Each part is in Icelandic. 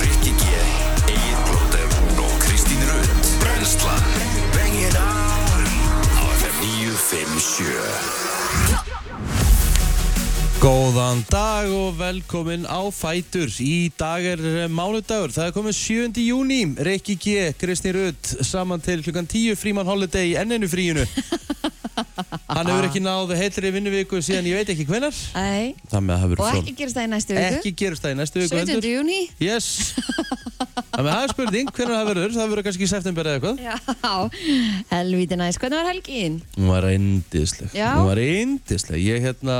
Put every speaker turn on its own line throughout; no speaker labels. Rikki G, Egil Blóter og Kristín Rund Brenslan Bring it on Á FM 957
Góðan dag og velkomin á Fætur. Í dag er eh, mánudagur, það er komið 7. júni. Reykji G, Kristi Rutt, saman til klukkan 10 fríman holiday í enninu fríinu. Hann hefur ekki náð heilri vinnuviku síðan ég veit ekki hvenar.
Æ,
Það með að hafa
og
verið
ekki
fjól.
gerist það í næstu viku
Ekki gerist það í næstu viku
17.
heldur.
júni
Yes. Það með að hafa spurning hvenar það verður, það verður kannski í september eða eitthvað.
Já, helvíti næst, hvernig var helgin?
Hún var eindisleg.
Já.
Hún var eindisleg. Ég hérna,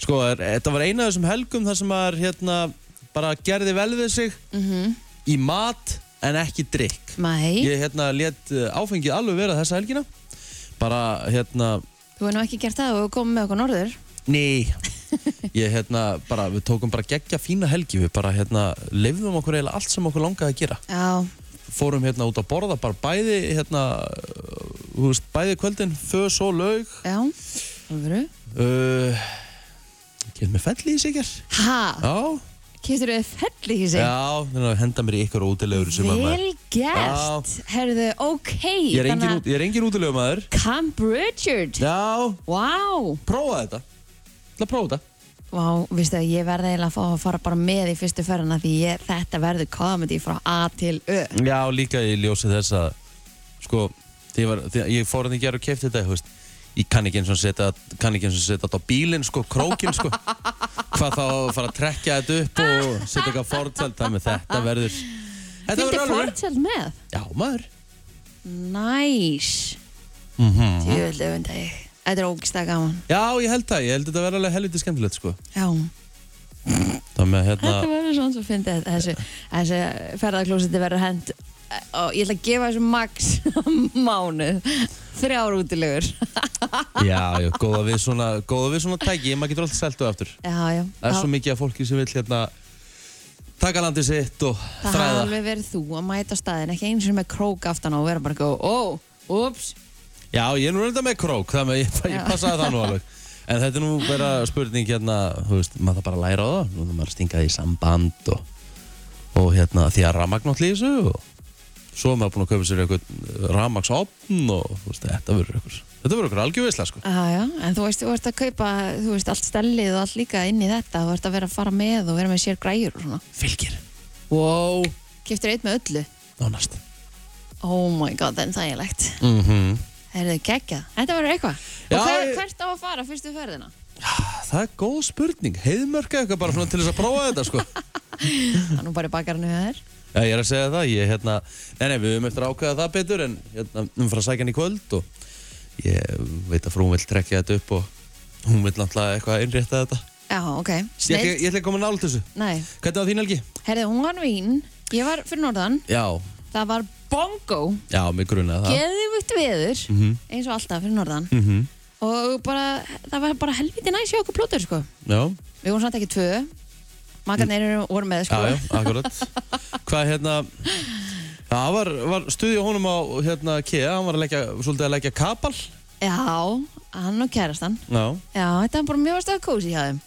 sko, er, þetta var eina af þessum helgum þar sem maður hérna bara gerði vel við sig
Mm
í mat en ekki drikk.
Mæ,
Ég hérna létt uh, áfengið alveg vera þessa helgina. Bara hérna,
þú hefur nú ekki gert það og þú komið með okkur norður
nei, ég hérna bara, við tókum bara geggja fína helgi, við bara hérna lifðum okkur eiginlega allt sem okkur langaði að gera.
Já,
Fórum hérna út að borða bara bæði hérna, uh, þú veist, bæði kvöldin, fös og laug.
já, alvöru
Uh, Getur mér fell í sig hér?
Ha,
Já,
kýttur þau fell Ah, í sig?
já, þannig að henda mér í ykkur útilegur sem að maður.
Vel gert, herðu, ok
Ég er engin,
þannig
út- ég er engin útilegur maður.
að Camp Richard
Já,
Vá,
prófa þetta. Það prófa þetta.
vá, veistu að ég verði eiginlega að fá að fara bara með í fyrstu ferðina því ég, þetta verður komedi frá A til Ö
Já, líka ég ljósi þess að sko, þegar ég, var, þegar ég fór hann í gerð og kefti þetta, þú veist ég kann ekki eins og setja, kann ekki eins og setja þetta á bílinn, sko, krókinn, sko hvað þá að fara að trekja þetta upp og setja eitthvað fortselt, þannig að þetta verður Þetta
Fylgdi
verður alveg
fortseld með
Já, maður
Næs
mm -hmm.
Djöfull öfunda ég Þetta er ógislega gaman
Já, ég held það, ég held þetta verður alveg helviti skemmtilegt, sko
Já
þannig að hérna
Þetta verður svona svo fyndið Þessu, þessu ferðarklósiti verður hend og ég ætla að gefa þessu max mánuð þrjár útilegur
Já, já, góða við svona, góða við svona tæki, maður getur alltaf seltu aftur
Já, já
Það er svo mikið af fólki sem vil hérna taka landið sitt og
Það hafa
þræða
alveg verið þú að mæta á staðin ekki eins og með krók aftan á og vera bara góð Ó, ups
Já, ég er nú reynda með krók, þannig að ég, ég
Já.
passaði það nú alveg. En þetta er nú bara spurning hérna, þú veist, maður það bara að læra á það. Nú er maður stingaði í samband og, og hérna því að rafmagn allir í þessu og svo er maður búinn að kaupa sér eitthvað rafmagsopn og þú veist, þetta verður eitthvað, þetta verður eitthvað algjörvisla, sko.
Já, já, en þú veist, þú ert að kaupa þú veist, allt stellið og allt líka inn í þetta þú ert að vera að fara með og vera með sér græjur og svona
Fylgir. Wow.
Kiftur eitt með öllu
Nánast.
Oh my god, það er þægilegt
Mm
Það eru geggjað. Þetta verður eitthvað.
Já,
og hver,
ég-
hvert á að fara fyrstu ferðina?
Það er góð spurning, heiðmörka eitthvað bara svona til þess að prófa þetta, sko.
Það er nú bara í bakarinu hjá þér.
Já, ég er að segja það, ég, hérna, nei, nei, við höfum eftir að ákveða það betur en hérna, við höfum fara að sækja hann í kvöld og ég veit að frún vil trekja þetta upp og hún vil náttúrulega eitthvað innrétta þetta.
Já, ok.
Ég, ætla-
Sneitt.
ég ætla ekki að koma nála til þessu.
Nei.
Hvernig var þín helgi?
Herði, hún var vín. Ég var fyrir norðan.
Já,
Það var bongo.
já, mig grunaði það.
Geðvikt veður.
Mhm.
Eins og alltaf fyrir norðan.
Mhm.
Og bara, það var bara helviti næs hjá okkur plótur, sko.
Já,
Við vorum samt ekki tvö. Makarnir eru voru með, sko.
já, já, akkurat. Hvað hérna, það var, var stuði á honum á hérna KEA, hann var að leggja, svolítið að leggja kapal.
Já, hann og kærastan.
Já,
Já, þetta var bara mjög stöðu kósi hjá þeim.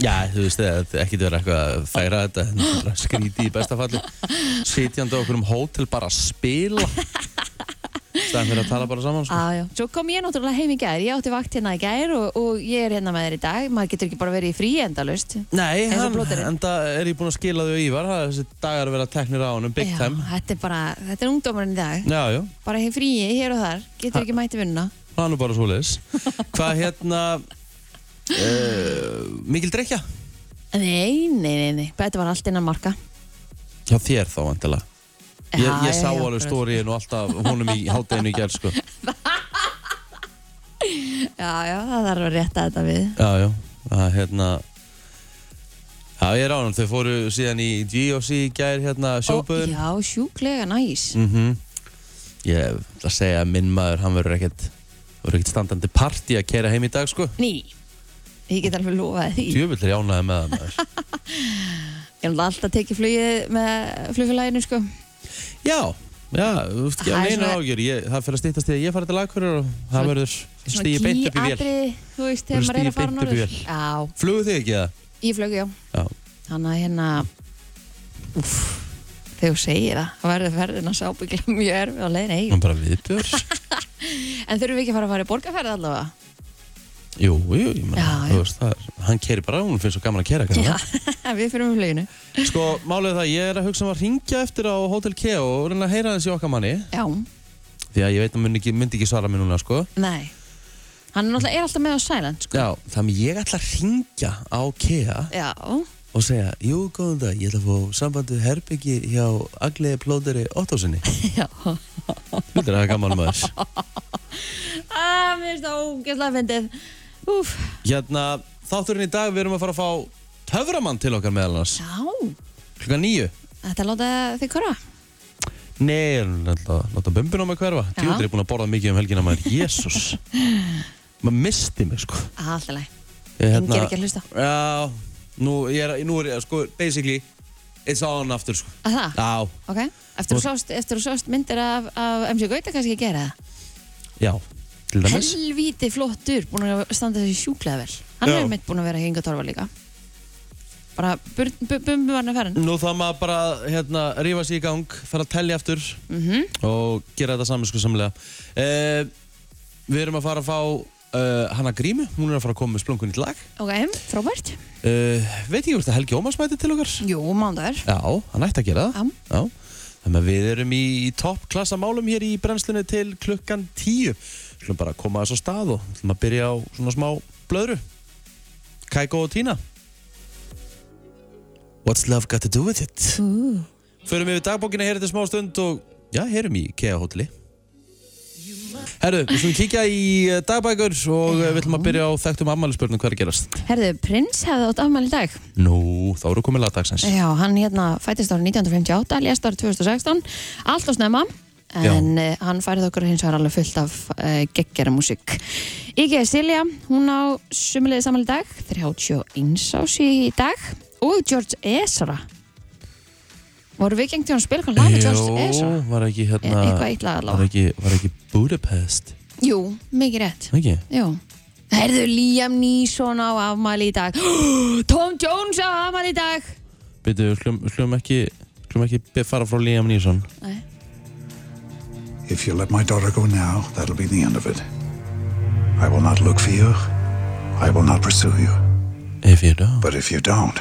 já þú veist það, þetta er ekkert verið eitthvað að færa þetta, þetta er bara skríti í besta falli. Sitjandi á okkur um hótel bara að spila. Stæðan fyrir að tala bara saman, sko.
Já, já. Svo kom ég náttúrulega heim í gær, ég átti vakt hérna í gær og, og ég er hérna með þér í dag. Maður getur ekki bara verið í frí endalust.
Nei,
Eins og
hann,
blóterinn.
en það er ég búinn að skila þau Ívar, það er þessi dagar að vera teknir á honum, big
já,
time.
Þetta er bara, þetta er ungdómarinn í dag.
Já, já,
Bara hér fríi, hér og þar. Getur ekki mæti vinnuna.
það er nú bara svoleiðis. Hvað hérna, uh, mikil drekja?
Nei, nei, nei, nei. Þetta var allt innan marka.
Já, þér þá, vantilega. Ég,
Já,
ég
já,
sá
já,
alveg
bara-
stóriðin og alltaf honum í hátteginu í gerð, sko.
Já, já, það þarf að rétta þetta við.
Já, já, að hérna Já, ég er ánum, þau fóru síðan í GOC í gær hérna sjóböðun
Ó, já, sjúklega næs.
mm Ég ætla að segja að minn maður, hann verður ekkert verður ekkert standandi partí að kera heim í dag, sko
Ný. Ég get alveg lofaði því.
Djöfull er ég ánægði með það, maður
Ég er náttúrulega alltaf tekið flugið með flugfélaginu, sko.
Já, Já, þú veist ekki
Það
að
er
neina
svona-
ágjör, ég, það fyrir að stýttast í að ég fari til Akureyrar og það verður stíði beint upp í vél.
gíatriði, þú veist,
Verður
þegar maður er að
stigið
fara
beint upp í
norður.
vél.
Já,
Flugu þig ekki það?
ég flög, já.
Já.
Þannig að hérna, uff, þegar þú segir það, það verður ferðin að sábyggla mjög erfið á leiðin eigin.
Nú bara viðbjör.
En þurfum við ekki að fara að fara í borgarferð allavega?
Jú, jú, ég meina,
Já, já.
þú veist, það er, hann keri bara, hún finnst svo gaman að kera.
Já,
Já.
við fyrir með fluginu.
Sko, málið er það, ég er að hugsa um að ringja eftir á Hotel Keo og reyna að heyra þessi okkar manni,
Já,
því að ég veit að hann myndi ekki, myndi ekki svara mér núna, sko.
nei. Hann er náttúrulega er alltaf með á silent, sko.
Já, þannig ég ætla að ringja á Kea
Já,
og segja, jú, góðan dag, ég ætla að fá sambandu herbyggi hjá Agliði Plóðeri Ottosinni.
já.
Þetta er að gaman maður.
Ah, mér finnst það ógeðslega fyndið. Úf,
Hérna, þátturinn í dag við erum að fara að fá töframann til okkar meðal annars
já,
klukka nýju
þetta láta þig hverfa.
Nei, ég er náttúrulega láta bumbin á mig hverfa
Já.
Djúður er búin að borða mikið um helgina maður Jésús Maður misti mig sko Hérna-
Alltaf leið.
Ég,
Engi er ekki að hlusta.
Já, nú, ég er, nú er ég sko, basically It's on aftur sko
Að það?
Já,
Ok. Eftir þú
Og-
sást, eftir þú sást myndir af, af MC Gauta kannski að gera það.
já, til dæmis
Helvíti flottur, búin að standa þessi sjúklega vel. Hann
Já.
er mitt búin að vera hinga torfa líka. Bara bumbu varna ferðin.
Nú þá maður bara, hérna, rífa sig í gang fara að tellja aftur
Mhm.
og gera þetta saman sko samlega Eh, Við erum að fara að fá uh, Hanna Grímu, hún er að fara að koma með splungun í lag
Ok, frábært.
Uh, veit ekki hvort að Helgi Ómars mæti til okkar?
Jú, mándagur.
Já, hann ætti að gera
Já.
það. Já. Þannig að við erum í toppklassa málum hér í brennslunni til klukkan tíu. Við ætlum bara að koma þess á stað og ætlum að byrja á svona smá blöðru. Kaiko og Tina. What's love got to do with it?
Ú.
Förum yfir dagbókina hér eftir smá stund og já, herum í Kea hóteli. Herru, við ætlum að kíkja í eh, dagbækur og já. við ætlum að byrja á þekktum afmælisbörnum hvað er að gerast.
Herðu, prins hefði átt afmæli í dag.
Nú, þá eru komið lagdagsins.
Já, hann hérna fættist árið 1958, lést árið 2016, allt og snemma. En uh, hann færið okkur hins vegar alveg fullt af uh, geggjara músík. Ígeir Silja, hún á sumulegði saman í dag, 31 ás í dag. Og George Ezra. Voru við gengt í hann spil, hvað laði George Ezra?
Jó, var ekki hérna
E- eitthvað eitt lag allavega.
var ekki, var ekki Budapest
Jú, mikið rétt.
Ekki?
Jú. Herðu, Liam Neeson á afmæli í dag. Tom Jones á afmæli í dag.
Býtu, við slum, slum ekki slum ekki be- fara frá Liam Neeson
Nei.
If you let my daughter go now, that'll be the end of it. I will not look for you. I will not pursue you.
If you don't
But if you don't,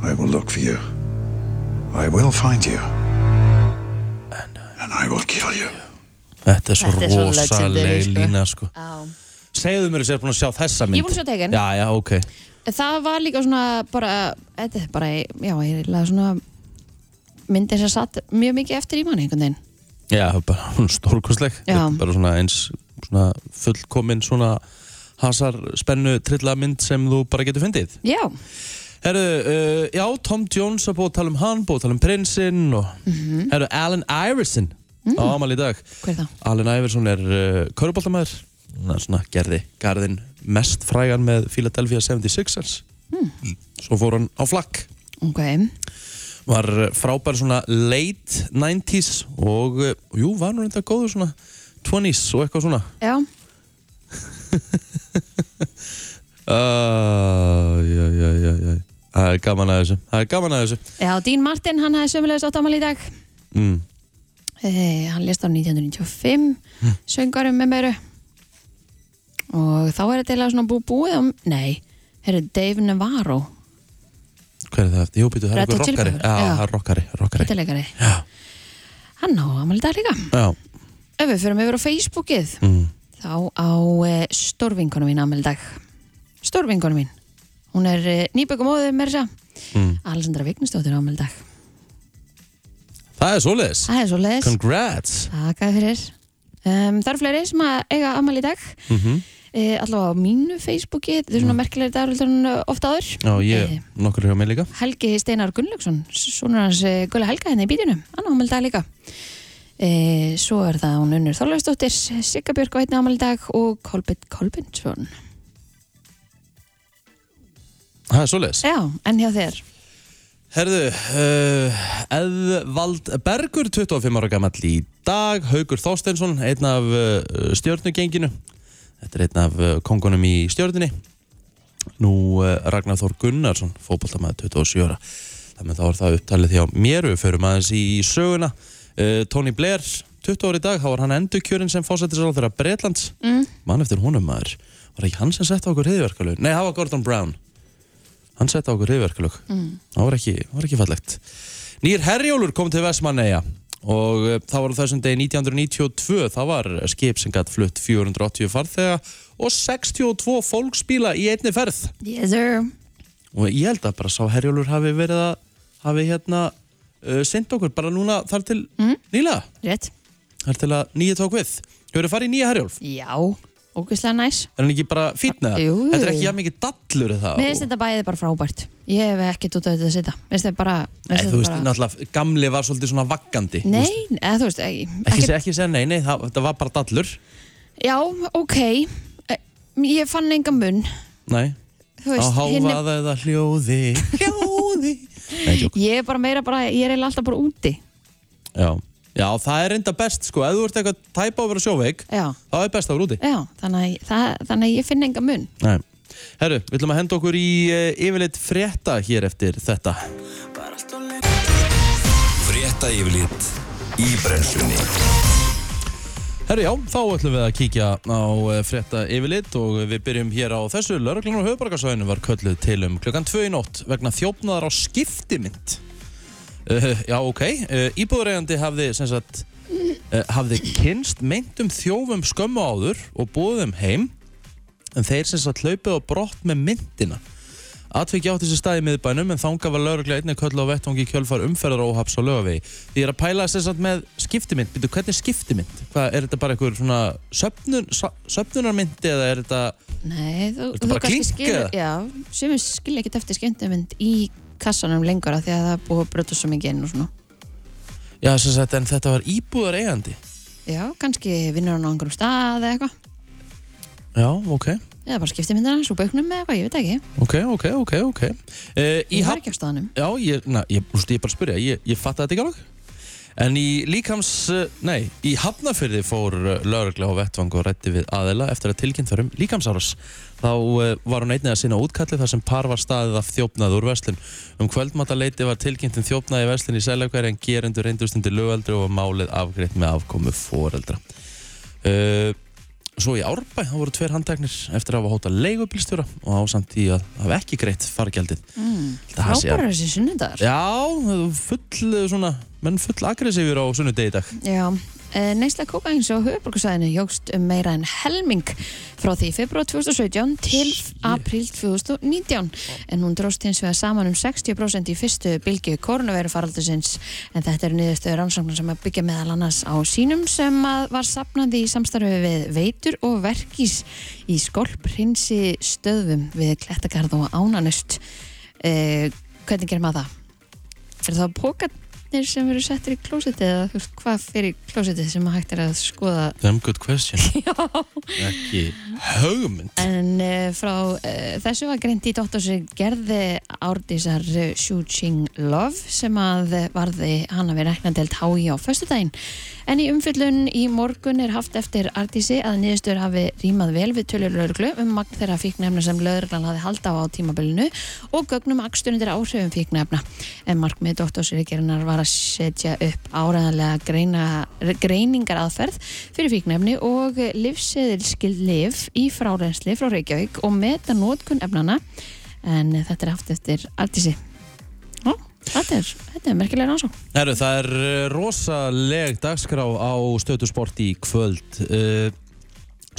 I will look for you. I will find you. And I will kill you.
Þetta er svo
Þetta er svo legendary,
rosaleg
sko.
lína sko
Á.
Segðu mér þess að ég er búin að sjá þessa mynd
Ég er búin að sjá Taken.
Já, já, ok
Það var líka svona bara, þetta er bara, já, ég er laði svona myndin sem satt mjög mikið eftir í manni einhvern veginn.
Já, bara hún er stórkostleg
Já.
Þetta er Bara svona eins svona fullkomin svona hasar spennu trilla mynd sem þú bara getur fyndið
Já,
Herru, uh, já, Tom Jones er búið að tala um hann, búið að tala um prinsinn og
Mhm.
herru, Alan Iverson á ámali í dag.
Mm. hver er það?
Alan Iverson er uh, köruboltamæður, hann er svona gerði garðin mest frægan með Philadelphia 76ers. Svo fór hann á flakk,
Hmm. Ok,
var uh, frábær svona late 90s og uh, jú, var hann þetta góður svona 20s og eitthvað svona.
já,
Uh, já, já, já, já. Það er gaman að þessu, það er gaman að þessu.
já, Dean Martin, hann hefði sömulegist átt ámali í dag.
Mm.
Eh, hann lést á 1995,
Hmm.
mm. söngarum með meiru. Og þá er þetta eiginlega svona bú búið á, nei, herri, Dave Navarro,
Hver er það eftir? Jú, býtu, það er
Red Hot
eitthvað
Chili
rockari.
Peppers,
Já,
já.
það er rockari, rockari.
hittilegari.
Já,
Hann á ámali í dag líka.
já.
Ef við fyrir yfir á Facebookið,
Mm.
Þá á uh, stórvinkonu mín ámæli dag. Stórvinkonu mín. Hún er uh, nýbökum óður með þessa.
Mm.
Alessandra Vignistóttir ámæli dag.
Það er svoleiðis.
Það er svo leiðis.
Congrats.
Takk fyrir. Um, það eru fleiri sem að eiga ámæli dag. Mm
Mhm.
-hmm. allavega á mínu Facebooki. Þetta er
Mm.
svona merkilegri dagur heldur en uh, oft áður.
Já, ég,
Eh,
nokkur hjá mig líka.
Helgi Steinar Gunnlaugsson, svona hans eh, Gulli Helga henni í bítinu, hann á ámæli dag líka. E, svo er það hún Unnur Þorlausdóttir, Sigga Björk á einni ámæli dag og Kolbind Kolbindsson.
Það er svoleiðis.
Já, en hjá þér
Herðu, uh, Eðvald Bergur, 25 ára gammal í dag, Haugur Þorstensson, einn af uh, stjórnugenginu. Þetta er einn af uh, kongunum í stjórnunni. Nú uh, Ragnar Þór Gunnarsson, fótballtamaður 27 ára. Þannig að þá er það upptalið hjá mér, við förum aðeins í söguna. Uh, Tony Blair, 20 ára í dag, þá var hann endurkjörinn sem fósættisar á þeirra Breitlands.
Mm.
mann eftir honum maður var ekki hann sem sett á okkur hriðverkalög nei, það var Gordon Brown hann sett á okkur hriðverkalög
Mm.
það var ekki, var ekki fallegt Nýr Herjólur kom til Vestmanneia og eh, það var á þessum degi 1992 það var skip sem gætt flutt 480 farþega og 62 fólksbíla í einni ferð
Yes sir
og ég held að bara sá Herjólur hafi verið að hafi hérna uh, sendt okkur bara núna þar til mm. nýla
Rétt
þar til að nýja tók við Hefur þið farið í nýja Herjólf?
Já, ógeðslega næs
Er hann ekki bara fínn eða?
Jú.
Þetta er ekki jafn mikið dallur eða það?
Mér finnst þetta bæðið bara frábært Ég hef ekkert út á þetta að sitja Mér finnst þetta bara mér
Nei,
finnst
þú
þetta
veist,
bara-
náttúrulega, gamli var svolítið svona vaggandi þú veist.
Nei, eða þú veist ekki,
Ekki, ekki, ekki segja nei, nei, það, það var bara dallur
Já, ok Eh, Ég fann enga mun
Nei,
Þú
á
veist, hinni-
háfaða eða hljóði Hljóði
Ég er bara meira bara, ég er eiginlega alltaf bara úti
Já, já það er reynda best, sko Ef þú ert eitthvað tæpa á að vera sjóveik
Já,
þá er best að vera úti
já þannig, að, það, þannig að ég finn enga mun
Nei. Herru, við ætlum að henda okkur í uh, yfirleitt frétta hér eftir þetta
Frétta yfirlit í brennslunni
Herru, já, þá ætlum við að kíkja á eh, frétta yfirlit og við byrjum hér á þessu. Lörglann á höfubarkasvæðinu var kölluð til um klukkan 2 í nótt vegna þjófnaðar á skiptimynd. Uh, já, ok. Uh, íbúðuregandi hafði, sem sagt, uh, hafði kynst meintum þjófum skömmu áður og búðum heim en þeir sem sagt hlaupið á brott með myndina. Atvikið átti sér stað í miðbænum en þanga var lauruglega einnig köll á vettvangi kjölfar umferðaróhaps á lögavegi. Því ég er að pæla sér samt með skiptimynd, byrju hvernig er skiptimynd? Hvað, er þetta bara einhver svona söfnun, sa- söfnunarmyndi eða er þetta,
Nei, þú,
Ertu
þú
bara klink,
skilur Já, sumir skilur ekkert eftir skemmtumynd í kassanum lengur af því að það er búið að brjóta svo mikið inn og svona
já sem sagt en þetta var íbúðar eigandi?
Já, kannski vinnur hann á einhverjum stað eða eitthvað
Já, ok,
eða bara skipti myndina hans úr böknum eða eitthvað, ég veit ekki
ok, ok, ok, ok. Uh,
Ég var ekki á staðanum
Já, ég, na, ég, úst, ég bara spyrja, ég, ég fatta þetta ekki alveg En í líkams, uh, nei, í Hafnafyrði fór lauruglega á vettvang og rætti við aðila eftir að tilkynnt var um líkamsárás. Þá uh, var hún einnig að sinna útkalli þar sem par var staðið af þjófnað úr verslun. Um kvöldmataleiti var tilkynnt um þjófnað í verslun í Sælagveri en gerendur reyndust undir lögaldri og var málið afgreitt með afkomu foreldra. Uh, Svo í Árbæ, þá voru tveir handteknir eftir að hafa hóta leigubílstjóra og ásamt í að hafa ekki greitt fargjaldið.
mm.
Það sé að-
Frábæra þessi sunnundar Já,
Já, full eh, svona, menn full aggressífur á sunnudegi í dag.
Já. Eh, Neysla kókains á höfuborgarsæðinu jógst um meira en helming frá því februar 2017 til april 2019 en hún dróst hins vegar saman um 60% í fyrstu bylgju koronaveirufaraldusins en þetta eru niðurstöður rannsóknar sem að byggja meðal annars á sínum sem að var sapnandi í samstarfi við veitur og verkís í skolprinsi stöðum við klettakarð og ánanust eh, hvernig gerir maður það? Er það pókarnir sem eru settir í klósettið eða þú veist hvað fyrir klósettið sem hægt er að skoða
Damn good question. Ekki haugmynd.
en uh, frá uh, þessu var greint í dóttarsu gerði árdísar Shooting Love sem að eh, varði hann að vera reknandelt hái á föstudaginn en í umfyllun í morgun er haft eftir Ardísi að niðurstöður hafi rýmað vel við tölur lauruglu um magn þeirra fíknefna sem lauruglan hafi halda á á tímabilinu og gögnum akstunundir áhrifum fíknefna. En markmið doktorsriðgerðinar var að setja upp áræðanlega greina, greiningar aðferð fyrir fíknefni og livseðilskil liv í frárensli frá Reykjavík og meta nótkun efnana en þetta er haft eftir Ardísi. Ó, Þetta er, þetta er merkilega rannsók.
Herru, það er eh, rosaleg dagskrá á stöðtusport í kvöld. Eh,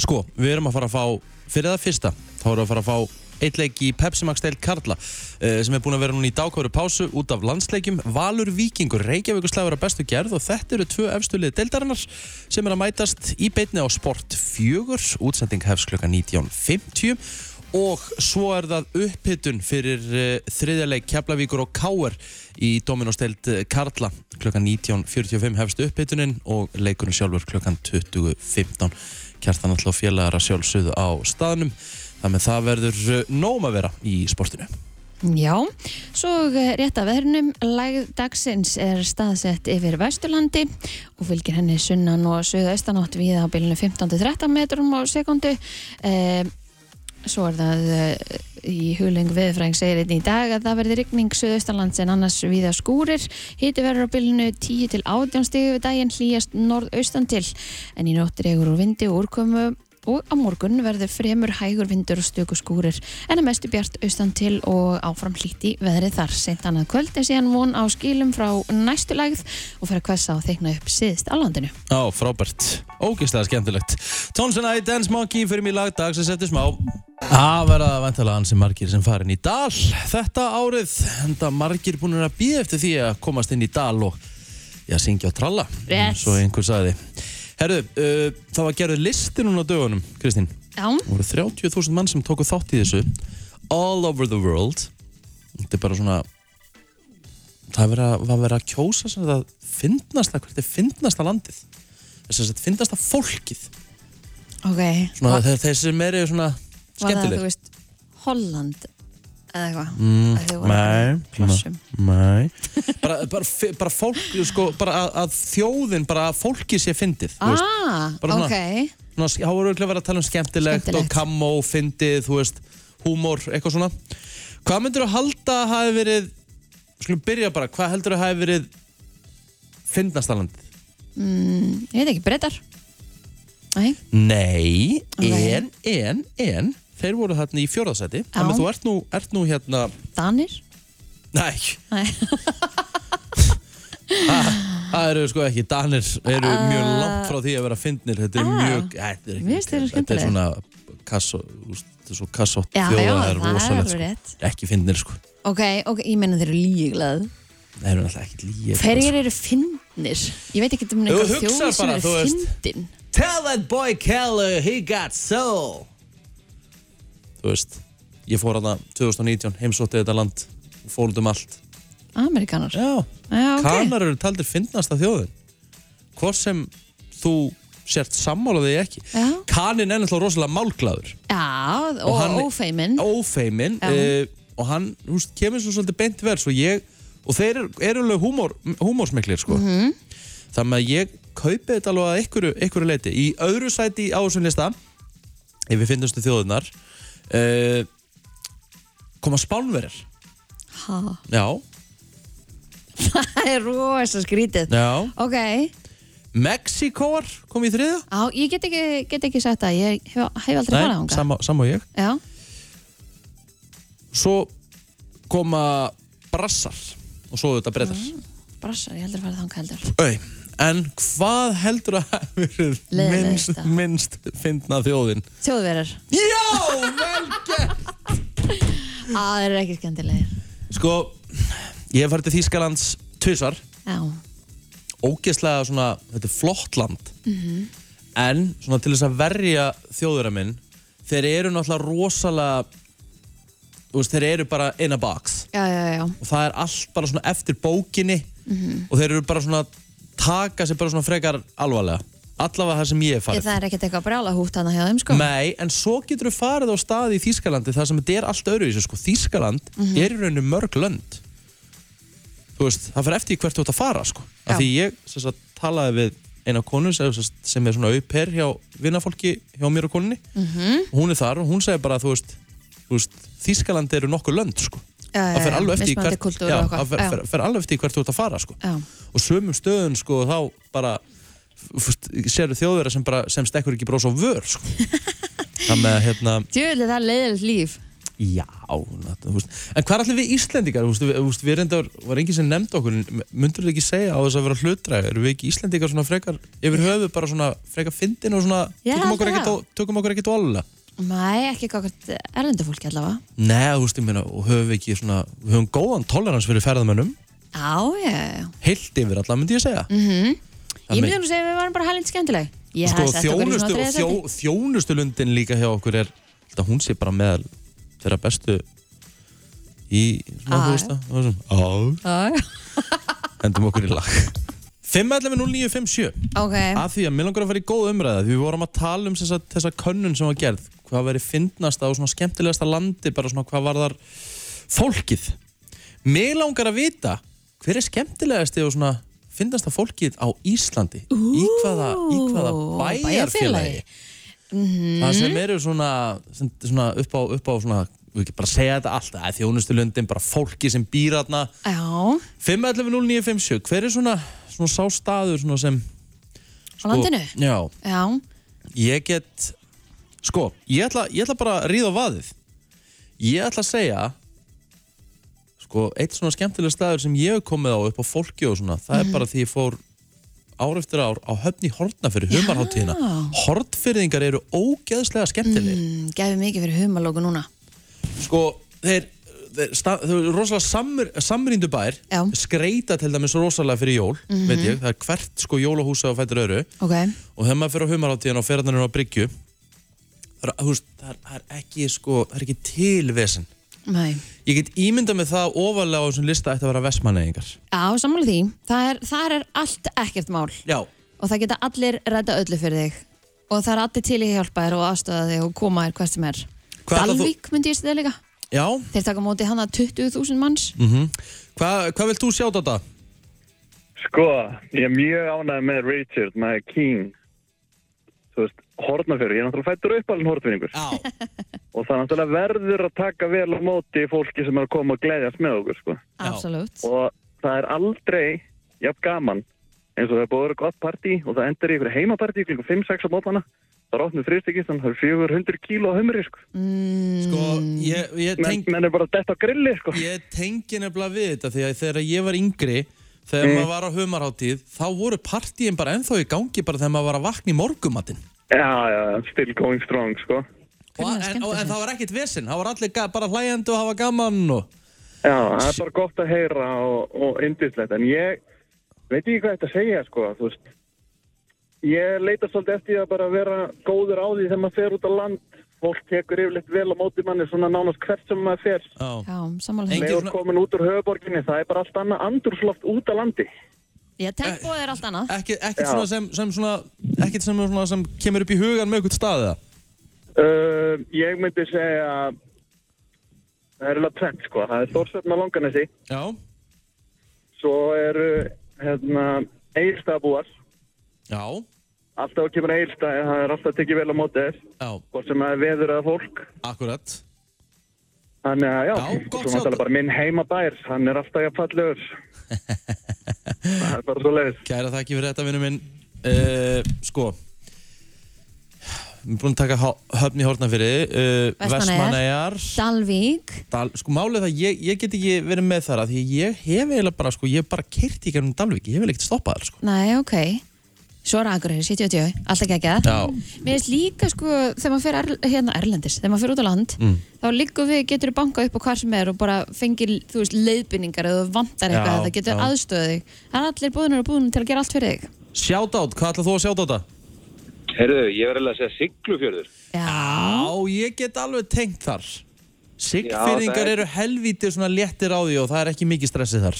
Sko, við erum að fara að fá, fyrir það fyrsta, þá erum við að fara að fá eitt leik í Pepsi Max Deil Karla eh, sem er búin að vera núna í dákværu pásu út af landsleikjum Valur Víkingur, Reykjavíkur slagur að bestu gerð og þetta eru tvö efstu liði deildarinnar sem er að mætast í beitni á Sport 4, útsending hefst klukka 19.50 og svo er það upphittun fyrir uh, þriðjarleik Keflavíkur og Káer í Dominosteld Karla klukkan 19.45 hefst upphittunin og leikurinn sjálfur klukkan 20.15 kjartan alltaf félagar að sjálfsögðu á staðnum þannig að það verður eh, nóg um að vera í sportinu
Já, svo eh, rétt af veðrunum lægð dagsins er staðsett yfir Vesturlandi og fylgir henni sunnan og suðaustanátt við á bylunu 15-13 metrum á sekundu eh, Svo er það eh, í huglengu veðurfræðing segir einn í dag að það verði rigning suðaustanlands en annars viða skúrir. Hiti verður á bylunu 10 til 18 stigi við daginn hlýjast norðaustan til en í nótt dregur úr vindi og úrkomu og á morgun verður fremur hægur vindur og stöku skúrir en að mestu bjart austan til og áfram hlíti veðrið þar seint annað kvöld en síðan von á skilum frá næstu lagð og fer að hvessa og þeikna upp síðist á landinu.
Já, frábært. Ógeðslega skemmtilegt. Tónsson æði Dance Monkey fyrir mig í lag dag sem settir smá. Það verða vantala ansi margir sem farin í dal þetta árið. Enda margir búin að býða eftir því að komast inn í dal og já, syngja og tralla.
Rétt.
Svo einhver sagði. Herðu, uh, það var gerðið listi núna á dögunum, Kristín.
Já,
Það voru 30.000 mann sem tóku þátt í þessu. All over the world. Þetta er bara svona... Það er verið að- var verið að kjósa sem þetta fyndnasta, hvert er fyndnasta landið? Þess að þetta fyndnasta fólkið.
ok.
Svona, þeir, þeir sem eru svona
Var það,
skemmtileg.
þú veist, Holland eða eitthvað? Að þau voru
Mm,
hérna
nei,
í plássum.
Nei. bara, bara, fi- bara fólk, sko, bara að, að þjóðin, bara að fólkið sé fyndið. þú veist.
Ah,
bara svona-
ok.
Svona, sk- þá voru örugglega verið að tala um skemmtilegt,
Skemmtilegt.
og kammo, fyndið, þú veist, húmor, eitthvað svona. Hvað myndir þú halda að hafi verið, við skulum byrja bara, hvað heldur þú að hafi verið fyndnasta landið?
Mm, Ég veit ekki, breytar. Nei,
Nei,
Nei.
en, en, en Þeir voru þarna í fjórðasæti
Já.
Þannig að þú ert nú, ert nú hérna
Danir?
Nei,
Nei.
það eru sko ekki Danir eru mjög langt frá því að vera fyndnir Þetta er
Ah.
mjög, Æ, þetta er
Mér finnst þeir
Þetta er
eru skemmtilegir.
svona kasso, úst, þetta er svo kassott
Já,
þjóða
já,
það er
það er
rosalegt
alveg
sko.
rétt.
Ekki fyndnir sko
Ok, ok, ég meina þeir eru líglegð.
Það eru náttúrulega sko. ekki líið
Hverjir eru fyndnir? Ég veit ekki um
Ef þú
einhver
hugsar
þjóð sem
bara, þú
eru
veist.
fyndin.
Tell that boy Keller he got soul Þú veist, ég fór hana 2019, heimsótti þetta land Fór út um allt
Amerikanar.
Já,
Já, ok.
Kanar eru taldir finnast af þjóðin Hvort sem þú sért sammálaðið ekki
Já.
Kanin er náttúrulega rosalega málglaður
Já,
Og
og,
hann-
og ófeimin.
Ófeimin
Já.
uh, Og hann húst, kemur svo svolítið beint vers Og, ég, og þeir eru- eru alveg húmor, húmórsmiklir sko.
Mhm.
-hmm. Þannig að ég kaupi þetta alveg að einhverju, einhverju leiti Í öðru sæti á þessum lista Ef við finnastu þjóðunar uh, Koma spánverjar
Ha,
Já,
Það er rosa skrítið.
já
Ok, á,
Mexikóar kom í þriða
ég get ekki, get ekki sagt það. Ég hef, hef aldrei farað ánga.
sama, sama og ég
Já,
svo koma brassar og svo þetta breytar
brassar, ég hef aldrei farað ánga heldur.
Au, en hvað heldur að hafi verið
Leiðinlegasta.
minnst, minnst fyndna þjóðin
Þjóðverðar.
já, vel gert
Á, það eru ekki skemmtilegir.
sko, ég hef farið til Þýskalands tvisar,
Já,
ógeðslega svona þetta er flott land
Mhm.
-hmm. en svona til þess að verja þjóðverða minn þeir eru náttúrulega rosalega þú veist, þeir eru bara in a box
já, já, já. Mhm.
og það er allt bara svona eftir bókinni og þeir eru bara svona taka sér bara svona frekar alvarlega allavega það sem ég hef
Ég,
farið
það er ekkert eitthvað brjála hútt hana hjá þeim sko
Nei, en svo getur þú farið á staði í Þýskalandi þar sem þetta er allt öðru í þessu sko. Þýskaland
Mhm.
er í rauninu mörg lönd þú veist, það fer eftir í hvert þú ert að fara sko.
Já.
af því ég sem sagt, talaði við eina konu sem sem er svona auper hjá vinnafólki hjá mér og konunni
Mhm.
og hún er þar og hún segir bara þú veist, þú veist Þýskaland eru nokkur lönd sko
Já, já,
það fer
já,
alveg eftir í
mismunandi
hvert,
kúltúr
já,
og eitthvað.
það fer,
Já.
fer, fer alveg eftir í hvert þú ert að fara sko.
Já.
og sömum stöðun sko, þá bara séru þjóðverða sem, bara, sem stekkur ekki brós á vör sko. það með hérna
Djöðli það er leiðilegt líf
já, þetta, þú veist. en hvað er allir við Íslendingar þú veist, við, þú veist, við reyndar, var enginn sem nefndi okkur myndur þið ekki segja á þess að vera hlutra eru við ekki Íslendingar svona frekar yfir höfu bara svona frekar fyndin og svona
Ég
tökum
held
okkur,
það.
ekkert, á- tökum okkur ekkert óalega
Nei, ekki eitthvað erlendu fólki allavega
Nei, þú veist, ég meina, og höfum við ekki svona, við höfum góðan tolerans fyrir ferðamönnum
Já, já, já, já
heilt yfir alla, myndi ég segja mm
Mhm. Ég myndi nú segja að við varum bara hælind skemmtileg Ég
sko,
hefði sett okkur í svona
þjónustu,
þriða
þjó,
sæti
þjónustulundin líka hjá okkur er þetta hún sé bara meðal þeirra bestu í svona
Ah,
þú veist það og þessum, á,
Já, já.
hendum okkur í lag 5.11.09.57
Ok,
af því að mér langar að fara í góð umræða því við vorum að tala um þessa, þessa könnun sem var gerð hvað verið fyndnasta og svona skemmtilegasta landi bara svona hvað var þar fólkið Mér langar að vita hver er skemmtilegasti og svona finnast að fólkið á Íslandi í hvaða, í hvaða
bæjarfélagi.
bæjarfélagi
Mhm.
það sem eru svona, sem, svona upp á, upp á svona, við ekki bara segja þetta allt það er þjónustulöndin, bara fólki sem býr aðna
Já,
5.11.09.57, hver er svona, svona sá staður svona sem Sko,
á landinu
Já,
Já,
hérna. ég get sko, ég ætla, ég ætla bara að ríða á vaðið ég ætla að segja sko, eitt svona skemmtileg staður sem ég hef komið á upp á fólki og svona, það
Mhm.
er bara því ég fór ár eftir ár á höfn í hortna fyrir humarháttíðina hortfyrðingar eru ógeðslega skemmtileg
mm, gefið mikið fyrir humalóku núna
sko, þeir, þeir, sta, þeir eru rosalega samr, samrýndu bær
Já.
skreita til dæmis rosalega fyrir jól veit ég, það er hvert sko jólahúsa á fættur öru
Ok,
og þegar maður fyrir á humaráttíðan og ferðanir á bryggju það er, þú veist, það er, það er ekki sko, það er ekki tilvesen
nei
ég get ímyndað með það ofalega á þessum lista ætti að vera vestmanneðingar
Já, sammála því, það er, þar er allt ekkert mál
já,
og það geta allir redda öllu fyrir þig og það er allir til í hjálpa þér og aðstöða þig og koma þér hvert sem er
Hvað ætlar þú-
Dalvík myndi ég stið líka
já, Mhm.
Þeir taka á móti hana 20.000 manns
Hva, hvað vilt þú sjá þetta?
Sko, ég er mjög ánægð með Richard, með King Þú veist, hornafjörður, ég er náttúrulega fættur uppalinn hortvinningur
já,
og það er náttúrulega verður að taka vel á móti fólki sem er að koma og gleyðast með okkur sko.
Já.
Absolutt
og það er aldrei jafn gaman eins og það er búið að vera gott partí og það endur í ykkur heimapartí klingu 5-6 á mótana það er opnið frístikistan, það er 400 kíló á humri sko.
sko, ég, ég
menn,
tengi
menn er bara dett á grilli sko.
Ég tengi nefnilega við þetta því að þegar ég var yngri þegar
Mm.
maður var á humarháttíð þá voru partíin bara ennþá í gangi bara þegar maður var að vakna í morgumattin
já, já, still going strong sko.
og,
Hvernig var
en, og,
skemmtilegt?
en það var ekkert vesen, það var allir ga- bara hlægjandi og hafa gaman og
Já, það er bara gott að heyra og, og yndislegt, en ég veit ekki hvað þetta að segja, sko, þú veist. Ég leita svolítið eftir því að bara vera góður á því þegar maður fer út á land. Fólk tekur yfirleitt vel á móti manni svona nánast hvert sem maður fer.
já.
Já, sammála
Engin
því
Leður
svona-
komin út úr höfuborginni, það er bara allt annað andurslóft út á landi.
Ég tempóið er allt annað
Eh, Ekki, ekkert
Já.
svona sem, sem svona ekkert sem, svona, sem kemur upp í hugan með eitthvað staðið
Uh, ég myndi segja, það er alveg tvent, sko, það er Þórsvefn á Langanesi,
Já,
svo eru, hérna, Egilstaðabúar,
já,
alltaf að kemur Egilstaði, það er alltaf að tekið vel á móti þess.
já,
hvort sem það er veður eða fólk
akkurat
þannig að já,
Já,
já
gott
svo
sjá.
náttúrulega bara minn heimabær hann er alltaf jafn fallegur það er bara svo leiðis
Kæra þakki fyrir þetta vinnu minn uh, Sko Við erum búin að taka há- höfn í hórnafyrir uh,
Vestmannaeyjar.
Vestmanæjar
Dalvík
Dal, sko málið er það, ég, ég get ekki verið með þar að því ég hef eiginlega bara, sko, ég hef bara kyrt í gernum Dalvík, ég hef eiginlega ekkert stoppað þar, sko.
Nei, ok Svo er Akureyri, 70-80, alltaf ekki
Já.
Mér finnst líka sko, þegar maður fer er, hérna Erlendis, þegar maður fer út á land
Mm.
þá líka við getur banka upp á hvar sem er og bara fengir, þú veist, leiðbynningar eða þú vantar
Já,
eitthvað, það getur
já.
aðstöðið þig Það er allir búðunar og búðunar til að gera allt fyrir þig
Shoutout, hvað ætlað þú að shoutout það?
Herðu, ég var alveg að segja Siglufjörður.
Já,
Á, ég get alveg tengt þar.
Já, það
Sigfyrringar
er-
eru helvítið svona léttir á því og það er ekki mikið stressið þar.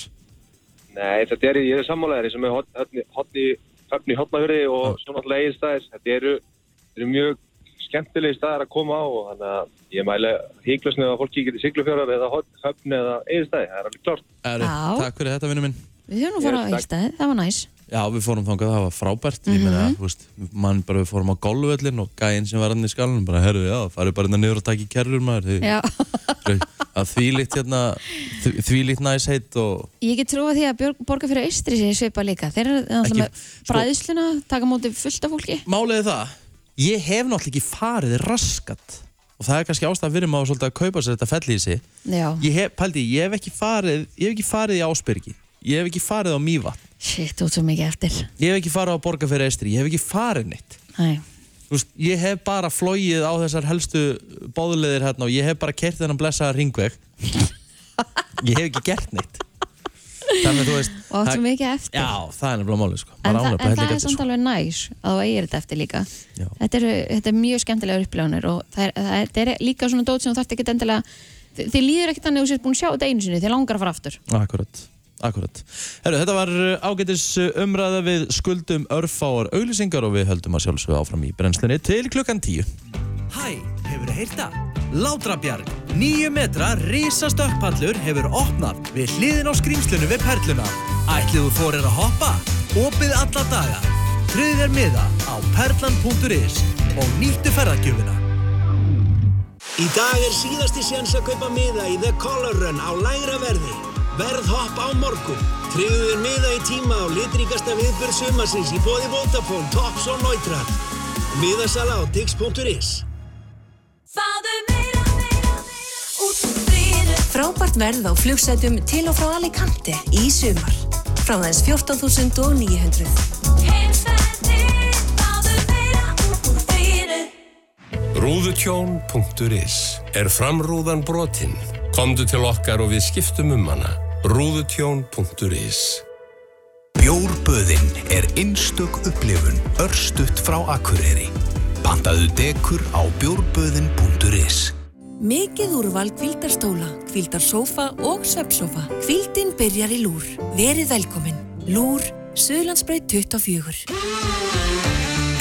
Nei, þetta er, ég er sammálaður eins og með hotni, hotni, hotni, hotni, hotnafjörði og svo náttúrulega eigin staðis. Þetta eru, þetta eru mjög skemmtilegi staðar að koma á og þannig að ég mæla híklusnið að fólki getur Siglufjörður eða hot- höfn eða eigin staði. Það er alveg klart.
Eru,
Já.
Takk fyrir þetta, vinnu minn.
við höfum nú
Ég
fara á
takk.
Ístaði, það var næs
Já, við fórum þangað, það var frábært. Ég meina, þú veist, mann bara við fórum á golvöllin og gæinn sem var hann í skalunum bara, herru, já, farið bara hérna niður og takk í kerrur, maður. Því,
Já.
að þvílíkt, hérna, þvílíkt næs heitt og
Ég get trúa því að björg- borga fyrir austri sér svipa líka þeir eru
Ekki-
alltaf með
sko-
bræðsluna taka á móti fullt af fólki
Málið er það, ég hef náttúrulega ekki farið raskat og það er kannski ástæðan fyrir maður svolítið að kaupa sér þetta fellísi.
Já,
Ég hef, pældi, ég hef ekki farið, ég hef ekki farið í Ásbyrgi, ég hef ekki farið á Mývatn,
shit, þú ert svo mikið eftir
ég hef ekki farið á Borgarfyrir Eistri, ég hef ekki farið neitt.
Æ.
Þú veist, ég hef bara flóið á þessar helstu bóðulegðir hérna og ég hef bara kert þennan blessaða ringveg. Ég hef ekki gert neitt. Þannig að þú veist,
og átt svo
það-
mikið eftir
já, það er nefnilega málið sko.
En,
Maður á
þa
nefnilega
en það
hellinga
er
eftir, sko.
samt alveg næs að þú eigir þetta eftir líka
Já.
þetta er, þetta er mjög skemmtilega upplifanir og það er, það er, þetta er líka svona dót sem þú þarft ekkert endilega þi- þið líður ekkert þannig að þú sért búin að sjá þetta einu sinni þið langar að fara aftur
Akkurat, akkurat. Herru, þetta var uh, ágætis uh, umræða við skuldum örfáar auglýsingar og við höldum að sjálfsögðu áfram í brennslunni til klukkan tíu.
Hæ, hefur þið heyrta? Látrabjarg Nýju metra risastökkpallur hefur opnað við hliðin á skrýmslunum við perluna. Ætlið þú fórir að hoppa? Opið alla daga. Tryggð er miða á perlan.is og nýttu ferðargjöfuna.
Í dag er síðasti séns að kaupa miða í The Color Run á lægra verði. Verðhopp á morgun. Tryggðu þér miða í tíma á litríkasta viðbjörn sumarsins í bóði Vodafone, Tops og Neutral. Miðasala á dix.is
Frábært verð á flugsætum til og frá Alicante í sumar. Frá þess 14.900.
Rúðutjón.is er framrúðan brotinn. Komdu til okkar og við skiptum um hana. Rúðutjón.is
Bjórböðin er einstök upplifun örstutt frá Akureyri. Pantaðu dekur á bjórböðin.is
Mikið úrval kvildarstóla, kvildarsófa og svepsofa. Kvildin byrjar í lúr. Verið velkomin. Lúr, Suðlandsbreið 24.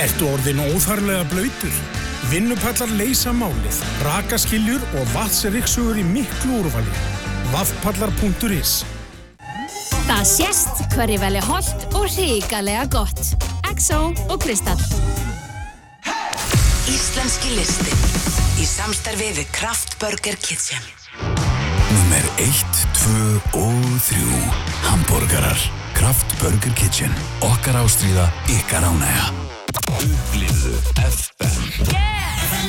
Ertu orðin óþarlega blöytur? Vinnupallar leysa málið, rakaskiljur og vatsriksugur í miklu úrvali. Vaffpallar.is
Það sést hverju veli holdt og ríkalega gott. XO og Kristall.
Íslenski listin í samstarfi við Kraftburger Kitchen
Númer 1, 2 og 3 Hamborgarar Kraft Burger Kitchen Okkar ástríða, ykkar ánægja Upplifðu FM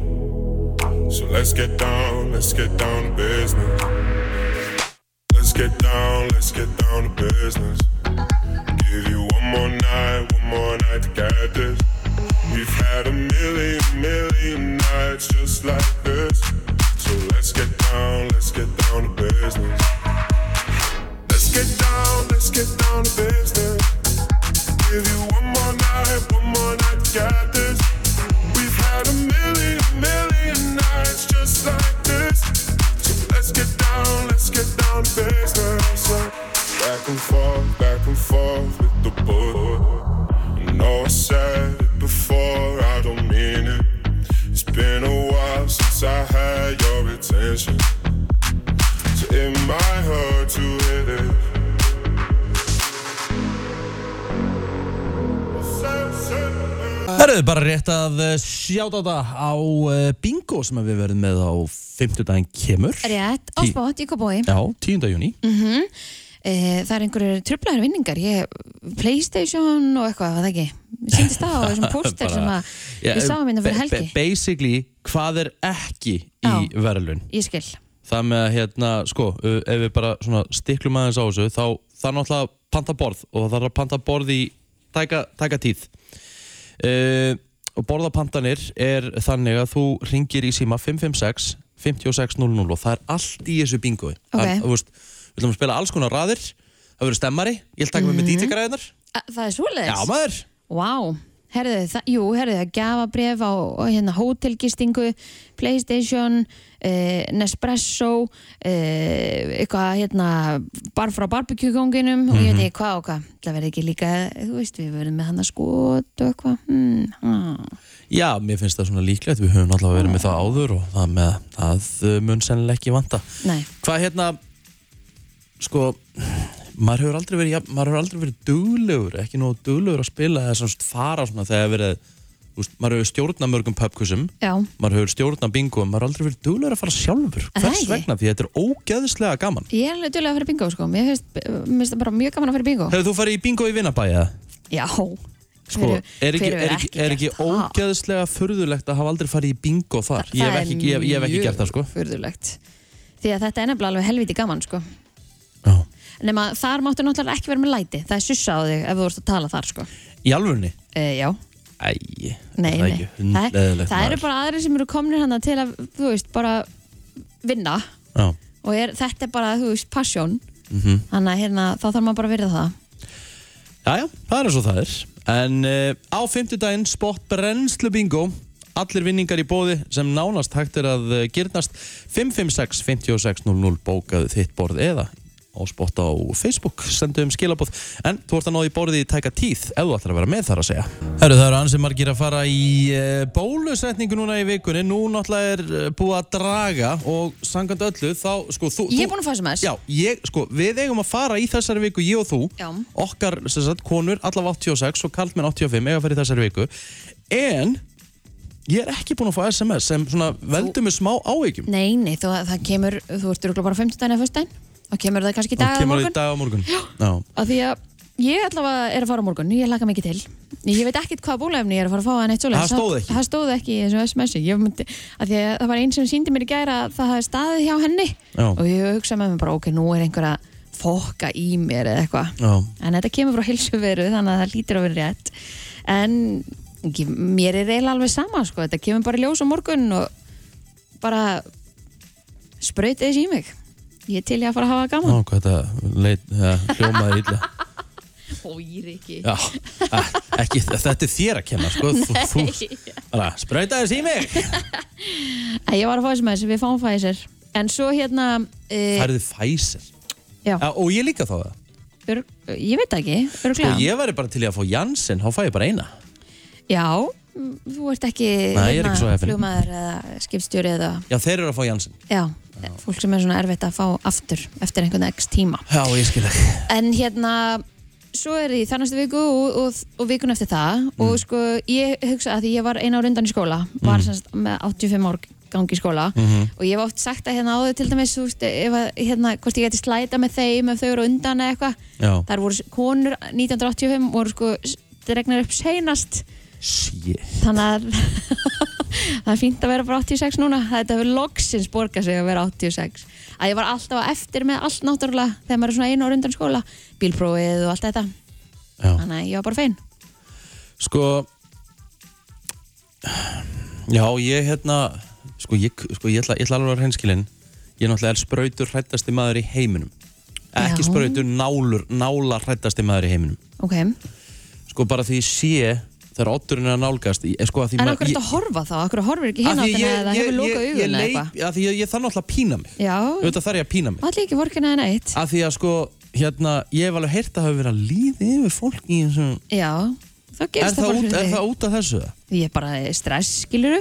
So let's get down, let's get down to business. Let's get down, let's get down to business. Give you one more night, one more night to get this. We've had a million, million nights just like this. So let's get down, let's get down to business. Let's get down, let's get down to business. Give you one more night, one more night to get this. We've had a million, million nights just like this. So let's get down, let's get down to business. yeah. Back and forth, back and forth with the bull. I know I said it before, I don't mean it. It's been a while since I had your attention. So it might hurt to hit it.
Herðu, bara rétt að sjáta þetta á eh, bingo sem að við verðum með á 50 daginn kemur.
Rétt, á
Tí-
spott, ég kom bói.
Já, 10. júni.
Mm Eh, það er einhverjir tröflaðar vinningar, ég, Playstation og eitthvað, var það ekki. Ég Sýndist það á þessum póster sem að ég sá minna fyrir helgi.
Basically, hvað er ekki í
Já.
verðlun?
Ég skil.
Það með að, hérna, sko, uh, ef við bara svona stiklum aðeins á þessu, þá það er náttúrulega að panta borð og það er að panta borð í tæka, tæka tíð. Uh, og borðapantanir er þannig að þú ringir í síma 556 5600 og það er allt í þessu bingoi. Það er, þú veist, við ætlum að spila alls konar raðir, það verður stemmari, ég ætla að taka mig með DJ-græðinar.
A, það er svoleiðis?
Já, maður.
Vá, herðu, það, jú, herðu, það gafabref á á hérna hótelgistingu, Playstation, eh, Nespresso, eh, eitthvað hérna bar frá barbecue-konginum og
Mhm.
ég veit ekki hvað og hvað. Það verði ekki líka, þú veist, við verðum með hann að skot og eitthvað. Hmm, hmm.
Já, mér finnst það svona líklegt, við höfum alltaf verið með það áður og það með að það mun sennilega ekki vanta.
Nei.
Hvað hérna, sko, maður hefur aldrei verið, jafn- maður hefur aldrei verið duglegur, ekki nóg duglegur að spila eða svona fara svona þegar verið, þú veist, maður hefur stjórnað mörgum pubquizum,
Já,
maður hefur stjórnað bingo, maður hefur aldrei verið duglegur að fara sjálfur.
Er það
Hvers
ekki?
vegna? Því þetta er ógeðslega gaman.
ég er alveg djulega að fara í bingo, sko. Mér finnst, mér finnst það bara mjög gaman að fara í bingo.
Hefur þú farið í bingo í vinnabæja?
Já.
Sko,
Hver
er ekki,
hver
er ekki, er ekki ógeðslega furðulegt að hafa aldrei farið í bingo þar?
Þa-
ég,
það
hef
er
ekki, ég, hef- ég hef ekki
mjög
gert það, sko.
furðulegt. Því að þetta er nefnilega alveg helviti gaman, sko. nema þar máttu náttúrulega ekki vera með læti það er sussa á þig ef þú vorst að tala þar sko
Í alvörunni?
e, já,
Æ,
nei,
það er
nei
ekki
það,
hundleðilegt
það eru bara aðrir sem eru komnir hann til að, þú veist, bara vinna
Já.
og er, þetta er bara, þú veist, passion
mm -hmm.
þannig að hérna, þá þarf maður bara að virða það
Jæja, það er eins og það er En uh, á fimmtudaginn spott brennslu bingo Allir vinningar í bóði sem nánast hægt er að uh, girnast 556 5600 bókaðu þitt borð eða á spott á Facebook sendu um skilabóð en þú ert að náði borðið í tæka tíð ef þú ætlar að vera með þar að segja Herru, það eru ansi margir að fara í uh, bólusetningu núna í vikunni nú náttúrulega er uh, búið að draga og sangand öllu þá sko þú,
Ég er
þú-
búin að fá SMS.
Já, ég, sko, við eigum að fara í þessari viku, ég og þú
Já.
okkar, sem sagt, konur, allavega 86 og kaldmenn 85, eiga að fara í þessari viku en ég er ekki búin að fá SMS sem svona veldur mig smá áhyggjum
Nei, nei, þú, það kemur, þú ert örugglega bara 15 daginn eða 1. daginn og kemur það kannski í dag
og
eða
kemur í
morgun
dag á morgun Já.
af því að ég allavega er að fara á morgun, ég laka mikið til ég veit ekkert hvað bólefni ég er að fara að fá að neitt svoleiðis.
Það stóð ekki.
það stóð ekki í þessu SMS-i Ég myndi, af því að það var einn sem síndi mér í gæra að það hafði staðið hjá henni
Já.
og ég hugsaði með mér bara, ok, nú er einhver að fokka í mér eða eitthvað
Já.
en þetta kemur frá hilsuveru þannig að það lítur að vera rétt en ekki, mér er eiginlega alveg sama sko. þetta kemur bara í ljós á morgun og bara sprauti þess í mig ég er til ég að fara að hafa
Ó,
gaman
hvað þetta leit, ja, hljómaði illa
Hóir ekki
Já, eh, ekki, þetta er þér að kenna sko, þú, þú
Nei.
bara, sprauta þess í mig
Æ, Ég var að fá SMS, við fáum Pfizer En svo hérna uh,
Færðu Pfizer
Já.
Og ég líka þá það
ör, Ég veit það ekki,
Sko,
örglega
ég væri bara til í að fá Janssen, þá fæ ég bara eina
Já, mm, þú ert ekki, hérna
Nei, ég er ekki svo heppinn.
flugmaður eða skipstjóri eða
Já, þeir eru að fá Janssen
Já, fólk sem er svona erfitt að fá aftur eftir einhvern x tíma
Já, ég skil ekki
En hérna, svo er því þannastu viku og, og, og vikun eftir það
Mm.
og sko, ég hugsa að því ég var eina ár undan í skóla, var
Mm.
mm. semst með 85 ár gangi í skóla
Mhm.
og ég hef oft sagt að hérna áður til dæmis þú veist, ef að, hérna, hvort ég geti slæta með þeim ef þau eru á undan eða eitthvað
Já.
þar voru s- konur 1985 voru sko s- dregnar upp seinast
Shit.
þannig að það er fínt að vera bara 86 núna þetta hefur loksins borgað sig að vera 86 að ég var alltaf á eftir með allt náttúrulega þegar maður er svona einu ár undan skóla bílprófið og allt þetta
Já.
þannig að ég var bara fein
Sko Já, ég hérna Sko, ég, sko, ég, ætla, ég ætla alveg að hreinskilin Ég er náttúrulega sprautur hrættasti maður í heiminum Ekki
Já.
sprautur, nálur Nála hrættasti maður í heiminum
ok, en
Sko, bara því ég sé Þegar otturinn er að nálgast ég- sko, að því maður-
okkur er þetta að horfa þá okkur horfir ekki
Af
hinn á
því
þetta
ég-
eða
ég-
hefur lokað
ég- ég
augun eða
leik-
eitthvað
af Því ég, ég þarf náttúrulega að pína mig
já,
Auðvitað þarf ég að pína mig
allir ekki vorkina en eitt
Af því að sko, hérna Ég hef alveg heyrt að hafa verið að líði yfir fólk í þessum
já, þá
Er
gerist það
það
bara
út- er
fyrir
það út af þessu?
því ég er bara eh, stress, skiluru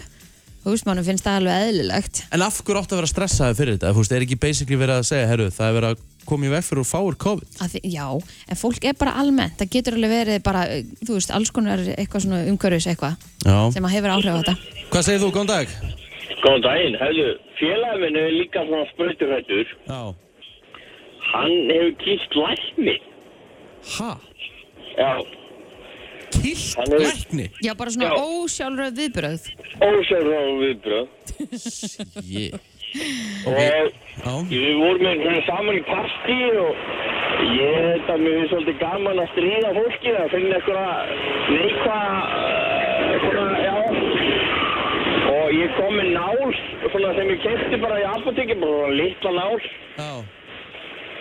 þú veist, mannum finnst það alveg eðlilegt
En af hverju áttu að vera stressaði fyrir þetta? Þú veist, er ekki basically verið að segja, herru, það er verið að koma í veg fyrir og fáur COVID?
Að Því, já, en fólk er bara almennt, það getur alveg verið bara, eh, þú veist, alls konar eitthvað svona umhverfis eitthvað
Já.
sem að hefur áhrif á þetta.
Hvað segir þú, góðan dag?
Góðan daginn, hefðu, félagminn er líka svona sprauturhættur.
Já.
Hann hefur kýrt lækni.
Ha?
Já.
Kýrt
hefur...
lækni?
Já, bara svona
Já.
ósjálfröð viðbröð.
Ósjálfráðum viðbröð.
Shit.
Og við vorum einhvern saman í partí og ég þetta, mér finnst svolítið gaman að stríða fólki að finna eitthvað neikvað, eitthvað, já. Og ég kom með nál, svona sem ég kefti bara í apotekki, bara svona litla nál.
Já.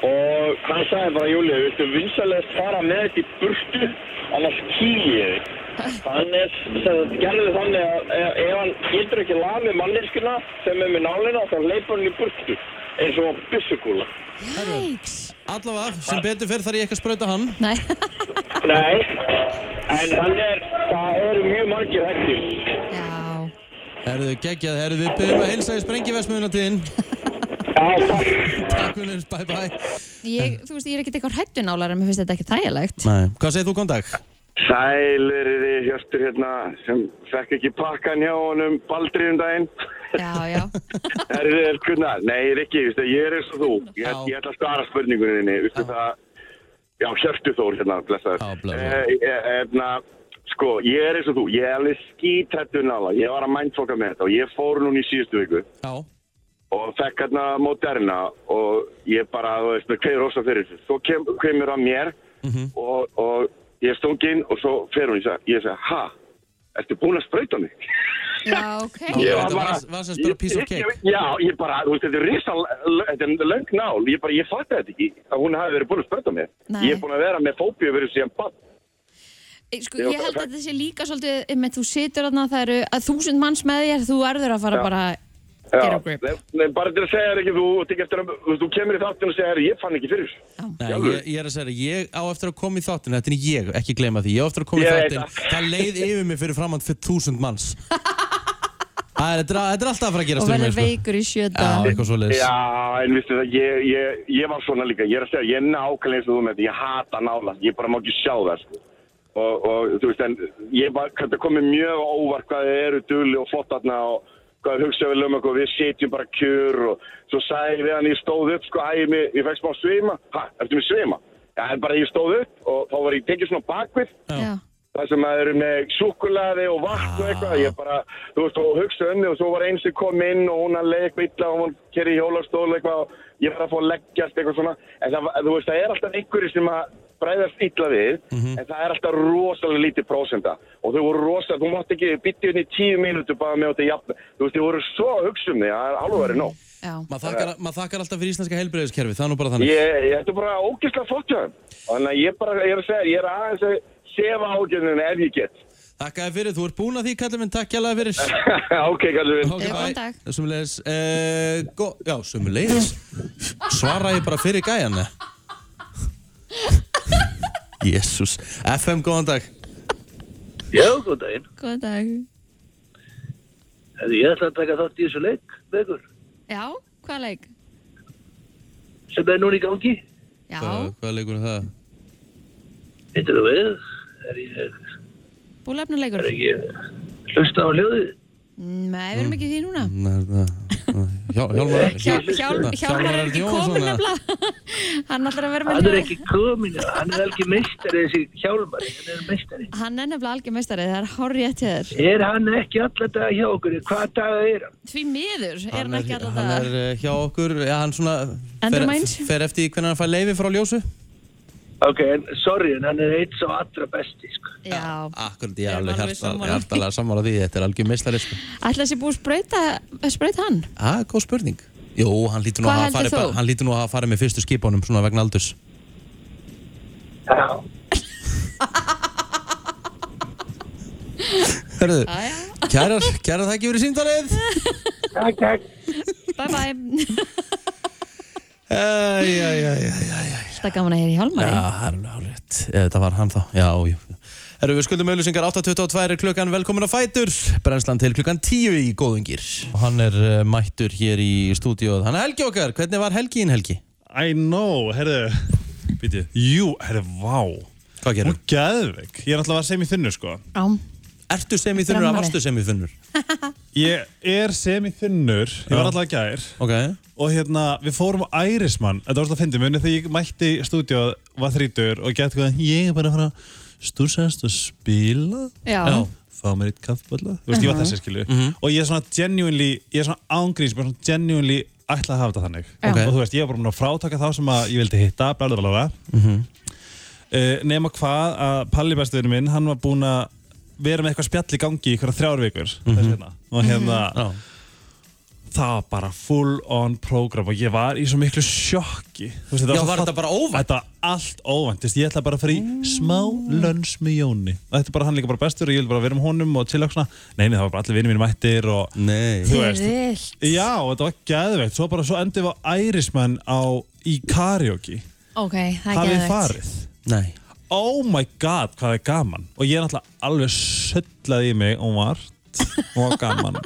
Og hann sagði bara, Júli, viltu vinsalegast fara með þetta í burtu, annars kýl ég þig. Hann er, það gerði þannig að e- ef hann getur ekki lag með manneskuna sem er með nálina, þá leipur hann í burtu, eins og byssukúla.
Jæks.
Allavega, sem betur fyrir þar ég ekki að sprauta hann.
Nei.
Nei, en hann er, það eru mjög margir hættir.
Herðu, geggjað, herðu, við byrjum að hilsa í sprengivesmiðunatíðin. Takk fyrir, bye bye.
Ég, þú veist, ég er ekkert eitthvað hættunálar en mér finnst þetta ekki þægilegt.
Nei. Hvað segir þú, góðan dag?
Sæl er þið Hjörtur hérna sem fekk ekki pakkan hjá honum Baldri um daginn.
Já, já.
er þið Elkunar? Nei, ég er ekki, veistu, ég er eins og þú. Ég, ég ætla að svara spurningunni þinni, veistu það. Já, Hjörtur Þór hérna, blessaður. Já, blessaður. Hérna, sko, ég er eins og þú. Ég er alveg skítrættur nála. Ég var að mindfoka með þetta og ég fór núna í síðustu viku.
Já.
og fekk hérna Moderna og ég bara, þú veist, með kveður ósa fyrir þessu. Svo kem, kemur að mér og, og ég stók inn og svo fer hún, ég sagði, ég sagði, ha, ertu búin að sprauta mig?
Já, ok.
Ég var
Þetta
bara-
var- var sem sagt bara piece of
ég-
cake.
ég- Já, ég bara, þú veist, þetta er risa, þetta er löng nál, ég bara, ég fatti þetta ekki að hún hafi verið búin að sprauta mig.
Nei.
Ég er búin að vera með fóbíu verið síðan bann.
Ég- Sko, ég held að þetta sé líka svolítið með þú situr þarna, það eru að þúsund manns með þér, þú erður að fara
Já.
bara
Get a grip. Nei, bara til að segja þér ekki, þú, þú, ekki eftir, að, þú, veist, þú kemur í þáttinu og segja þér, ég fann ekki fyrir. þessu."
Nei, ég, ég er að segja, ég á eftir að koma í þáttin Þetta er ég, ekki gleyma því Ég á eftir að koma í
Ég veit
þáttin
það.
Það leið yfir mig fyrir framann fyrir þúsund manns Æ, Þetta er, þetta er alltaf að fara að
og
gerast fyrir
verður
mig, sko.
veikur í sjöta.
Já, eitthvað svo leiðis
Já, en vissi það, ég, ég, ég var svona líka, ég er að segja, ég er nákvæmlega eins og þú með þetta, ég hata nála, ég bara má ekki sjá það, sko. Og, og þú veist, en ég var, þetta komið mjög á óvart hvað þið eru duli og flott þarna og hvað þið hugsaðu vel um eitthvað, við sitjum bara kjur og svo sagði ég við hann, ég stóð upp, sko, æ, ég, ég fekk smá svima, ha, ertu með svima? Já, en bara ég stóð upp og þá var ég tekið svona bakvið
Já.
Það sem að eru með súkulaði og vatn og eitthvað, ég bara, þú veist, og hugsa um þig og svo var eins sem kom inn og hún að leið eitthvað illa og hún kerði hjólastól eitthvað og ég var að fá að leggjast eitthvað svona, en það, var- þú veist, það er alltaf einhverju sem að bræðast illa við,
Mhm.
en það er alltaf rosalega lítið prósenda og þau voru rosalega, þú mátt ekki bytti henni í tíu mínútur bara með þetta jafn, þú veist, þau voru svo að hugsa um þig, það er alveg verið nóg.
Maður þakkar, mað þakkar alltaf fyrir íslenska helbreyðiskerfi Það er nú bara
Ég,
þannig
ég, þetta er bara ógeðslega flott hjá þeim, þannig að ég bara, ég er að segja, ég er aðeins að sefa ágjörninu ef ég get.
Þakka þér fyrir, þú ert búin að því, kallum minn, takk hjálpa fyrir
Ok, kallum minn
Ok, Eh, bæ, sumulegis uh, Já, sumulegis Svara ég bara fyrir gæjan Jésús FM, góðan dag
Já, góð daginn.
Góð dag.
Hefði Ég ætla að taka þátt í þessu leik með ykkur
Já, hvaða leik?
sem er núna í gangi.
Já,
Hvað, hvað leikur er það?
Þetta er við. Er ég
búlefnuleikur.
er ekki hlusta á hljóðið?
Nei, við erum ekki í því núna.
Hjál, hjálmar
Hjál- Hjál- Hjálmar er ekki komin nefnilega. Hann ætlar að vera með
Hann er
hljóð.
ekki komin, hann er alveg meistari þessi hjálmar, hann er meistari.
Hann er nefnilega algjör meistari, það er horrið rétt hjá þér.
Er hann ekki alla daga hjá okkur? Hvaða daga er hann?
Því miður er hann ekki alltaf
Hann
það.
er eh, hjá okkur, já, hann svona fer,
Endurmæns.
fer eftir því hvernig hann fær leifi frá ljósu
Ok, en sorry, en hann er eitt svo allra besti, sko.
Já.
Akkurat, ég er
Erum
alveg
alveg
hjartal-
sammála.
hjartalega sammála því, þetta er algjör meistari sko.
Ætla þessi búið að sprauta- sprauta hann?
Ah, góð spurning Jó, hann lítur nú,
Hvað
að hafa
heldur
farið,
þú?
bara- hann lítur nú að hafa farið með fyrstu skipunum svona vegna aldurs Hörðu, kærar, kærar þakki fyrir símtalið
Takk, takk
Bye bye
Eh, Æjæjæjæjæ
Alltaf gaman að heyra í Hjálmari
Já, það er alveg hálfrétt. Eða þetta var hann þá. Já, jú. Herru, við skuldum auðlýsingar 8.22 er klukkan velkomin að fætur. Brennslan til klukkan 10 í góðungir. Og hann er uh, mættur hér í stúdíóð. Hann er helgi okkar. Hvernig var helgiðin helgi?
I know, herðu Býti, jú, herðu, vá
Hvað gerir?
Hún geðveik, ég er alltaf að vera sem í þunnu sko
Já
Ertu sem í þunnur eða varstu sem í þunnur?
Ég er sem í þunnur, ég var alltaf gær
okay.
Og hérna, við fórum á Ærismann Þetta var alltaf að fyndi munið þegar ég mætti í stúdíóð Var þrítur og gett hvað Ég er bara að fara að stúsast og spila
Já.
Fá mér eitt kaffballa Þú veist, ég var
Mhm.
þessi skilu Og ég er svona genuinely, ég er svona ángríns Ég er svona genuinely ætlað að hafa þetta þannig
Já. Ok.
Og þú veist, ég var bara búin að frátaka þá sem að ég vildi hitta bla, bla, bla, bla. Uh, nema hvað að Palli bestuðurinn minn, hann var búinn að vera með eitthvað spjall í gangi í einhverja þrjár vikur þessi hérna. og
Mhm.
hérna það var bara full on program og ég var í svo miklu sjokki Þú veist,
Já,
svo
var
fall-
þetta bara óvænt?
Þetta var allt óvænt, þú veist, ég ætla bara að fara í smá lönns með Jóni og þetta er bara hann líka bara bestur og ég vil bara vera með honum og til svona, nei, nei, það var bara allir vinir mínu mættir og
nei.
þú veist
Þill
Já, þetta var geðveikt, svo bara svo endið var ærismenn á, í karaoke
Ok, það er
Hafið
geðvegt
þið farið?
Nei
Oh my god, hvað er gaman Og ég er náttúrulega alveg söllaði í mig og vart og gaman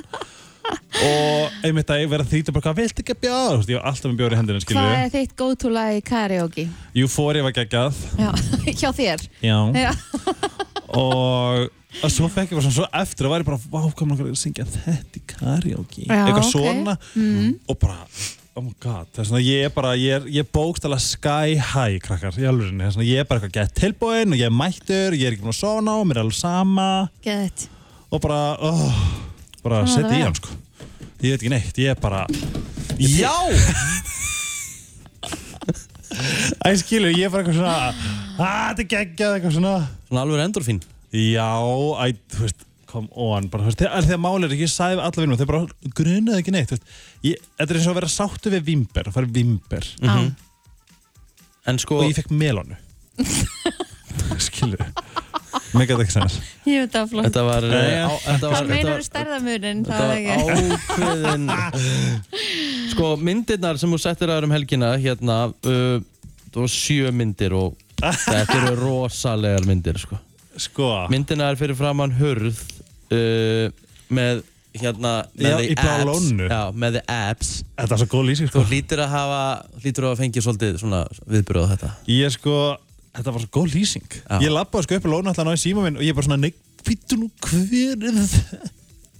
Og einmitt að ég verið að þýta bara hvað viltu ekki að bjóða Þú veist, Ég var alltaf með bjóður í hendinu, skilju
Hvað er þitt go to lag í karaoke?
Euphoria var geggjað
Já, hjá þér
Já
Já.
Og og svo fekk ég bara svona svo eftir að væri bara Vá, hvað maður að syngja þetta í karaoke
Já,
Eitthvað
ok.
svona
Mhm.
Og bara, oh my god Það er svona, ég er bara, ég er, ég bókst alveg sky high krakkar Í alvörinni, það er svona, ég er bara eitthvað gett tilbúin Og ég er mættur, ég er ekki búin að sofna Og mér er alveg sama
Gett
Og bara, oh, bara
Svona á það að
setja í
vera.
hann sko Ég veit ekki neitt, ég er bara
Já!
Æ, skilur, ég er bara eitthvað svona að þetta er geggjað eitthvað svona
Svona alveg endorfín
Já, æ, þú veist, come on bara, þú veist, þegar, þegar málið er ekki, ég sagði við alla vinnum þeir bara grunaði ekki neitt, þú veist ég, Þetta er eins og að vera sáttu við vimber, að fara vimber
Mhm. En sko
Og ég fekk melónu Skilur Mér gæti ekki sannar
Ég veit það flott.
Þetta var, eh, á- þetta var-
Hvað meinar þú
þetta-
stærðamunin?
Þetta var ákveðin Sko myndirnar sem þú settir aður um helgina hérna uh, það var sjö myndir og þetta eru rosalegar myndir sko.
sko.
Myndina er fyrir framann hurð uh, með hérna með
Já,
the
í blá
abs.
lónu.
Já, með the abs
Þetta er svo góð lýsing
sko. Þú hlýtur að hafa hlýtur að fengja svolítið svona viðbröð á þetta
Ég sko, þetta var svo góð lýsing
Já.
Ég labbaði sko upp í lónu alltaf að náði síma minn og ég bara svona, nei, býttu nú hver er þetta?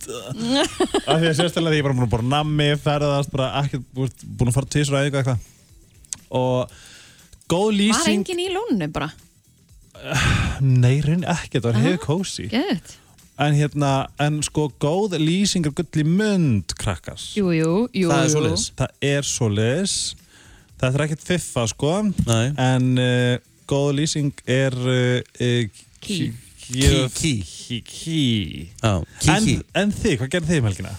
Af því að sérstæðilega því ég bara búin að borða nammi, ferðast, bara ekkert, þú veist, búin að fara tísra eða eitthvað Og góð
Var
lýsing,
engin í lónu bara?
nei, reyni ekkert, það var hefur kósi
Gett.
En hérna, en sko, góð lýsing er gull í mynd, krakkar
Jú, jú, jú.
það er
jú.
svoleiðis það er svoleiðis þetta er ekkert fiffa sko Nei. en uh, góð lýsing er uh,
Ký.
kí kí kí en,
kí.
en þið, hvað gerði þið um helgina?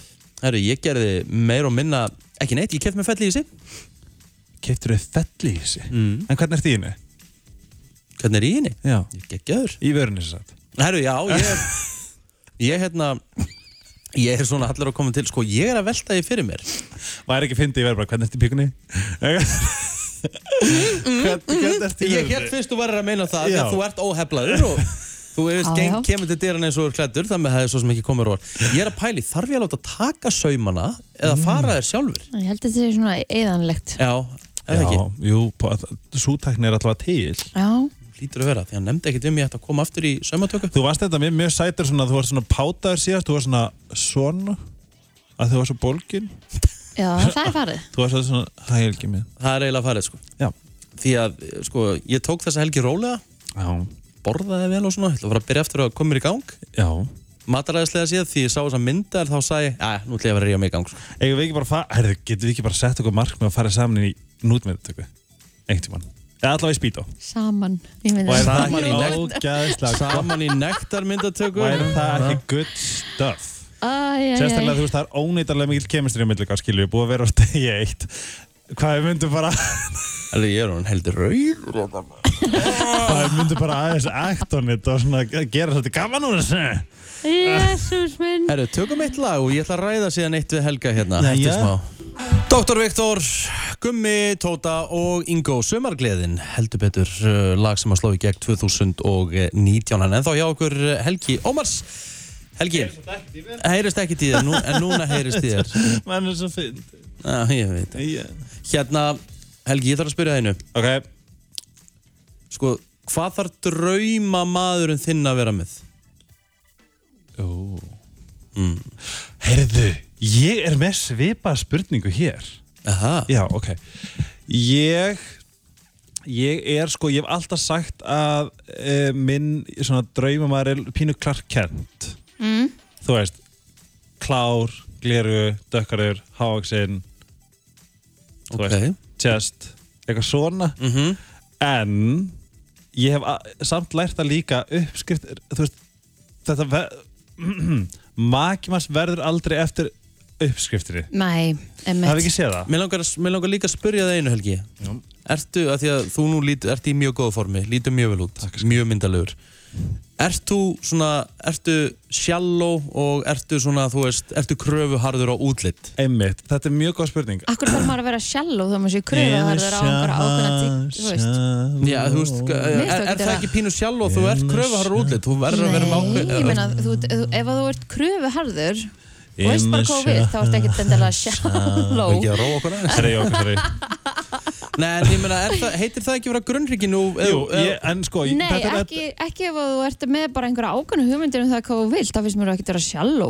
Herru, ég gerði meir og minna ekki neitt, ég kefti með fell í þessi
Keftur þið fell í þessi? Mm. En hvernig ert í henni?
Hvernig er í henni?
Já.
Ég geggjaður.
Í vörunni sem sagt.
Herru, já, ég, ég hérna, ég er svona allir að koma til, sko, ég er að velta því fyrir mér.
Væri ekki fyndið, ég væri bara, hvernig ertu í píkunni? hvernig ertu í
Ég
vörunni?
held fyrst þú verður að meina það,
Já.
að þú ert óheflaður og þú veist,
Já,
geng, kemur til dyrann eins og er klættur, þannig að það er svo sem ekki komið rór. Ég er að pæli, þarf ég að láta taka saumana eða
Mm.
fara þér sjálfur?
Ég held að þetta sé svona eðanlegt.
Já, er það ekki?
jú, sútækni er alltaf til.
Já.
Lítur að vera, því hann nefndi ekkert um ég ætti að koma aftur í saumatöku.
Þú varst þetta mjög, mjög sætur svona, þú varst svona pátaður síðast, þú varst svona svona, að þú varst svo bólgin.
Já, það er farið.
Þú varst svona, það er ekki minn.
Það er eiginlega farið, sko.
Já.
Því að, sko, ég tók þessa helgi rólega,
Já.
borðaði vel og svona, ætla að fara að byrja eftir að koma mér í gang.
Já.
Mataræðislega séð, því ég sá þessa myndar, þá sagði ég, að, nú ætla ég að vera að ríja mig í gang, sko.
Eigum við ekki bara, fa- herðu, getum við ekki bara sett okkur markmið og farið saman inn í nútmyndutöku? Einhvern tímann. Eða allavega í spýtó.
Saman. Ég myndi
Og er
að-
það ekki
Saman í nekt-
ógæðislega gott?
Saman í nektarmyndatöku
Væri það ekki good stuff?
Æ, æ, æ.
Sérstaklega, þú veist, það er óneitarlega mikill kemistri á milli ykkar, skilju, búið að vera á stegi eitt. Hvað við myndum bara,
Alveg ég er hún heldur rauður og það
hvað við myndum bara aðeins act on it og svona gera svolítið gaman úr þessu.
Jésús minn
Herru, tökum eitt lag og ég ætla að ræða síðan eitt við Helga hérna
Nei,
eftir
já.
smá Dr. Viktor, Gummi, Tóta og Ingo Sumargleðin heldur betur uh, lag sem að slá í gegn 2019 en þá hjá okkur uh, Helgi Ómars Helgi, heyrist ekki tíðir nú, en núna heyrist tíðir
Mann er svo fynd.
Já, ég veit það. Hérna, Helgi, ég þarf að spyrja þínu
Ok
Sko, hvað þarf drauma maðurinn þinn að vera með?
Ó. Herðu, ég er með svipað spurningu hér.
Aha.
Já, ok. Ég, ég er sko, ég hef alltaf sagt að e, minn svona draumamæður er pínu Clark Kent.
Mm.
Þú veist, klár, gleru, dökkarur, hávaksinn, þú veist, chest, eitthvað svona.
-hmm.
En ég hef a- samt lært að líka uppskrift, þú veist, þetta ve makimanns verður aldrei eftir uppskriftinni.
Nei, emmitt.
Hafið ekki séð það?
Mér langar, að- mig langar líka að spyrja það einu helgi Ertu, að því að þú nú lít, ert í mjög góð formi Lítur mjög vel út, mjög myndalegur Ert þú svona, ertu shallow og ertu svona, þú veist, ertu kröfuharður á útlitt?
Einmitt, þetta er mjög góð spurning
Akkur þarf maður að vera sjálf og þá maður sé kröða að verður á einhverja ákveðna tík, þú veist.
Já, þú veist, er,
Mér finnst
er
það
það ekki pínu shallow, þú ert kröfuharður á útlitt Þú verður að vera með
Nei, ég meina,
ákveð
þú, þú, ef að þú ert kröfu harður og veist bara hvað þú vilt, þá ert ekkert endilega sjáló.
Ekki að róa okkur aðeins
Herra, ég okkur, sorry.
Nei, en ég meina, er það, heitir það ekki vera grunnríkinu? Jú,
ég, en sko
Nei, ekki, ekki ef að þú ert með bara einhverja ákveðna hugmyndir um það hvað þú vilt, þá finnst mér þú ekkert vera sjáló.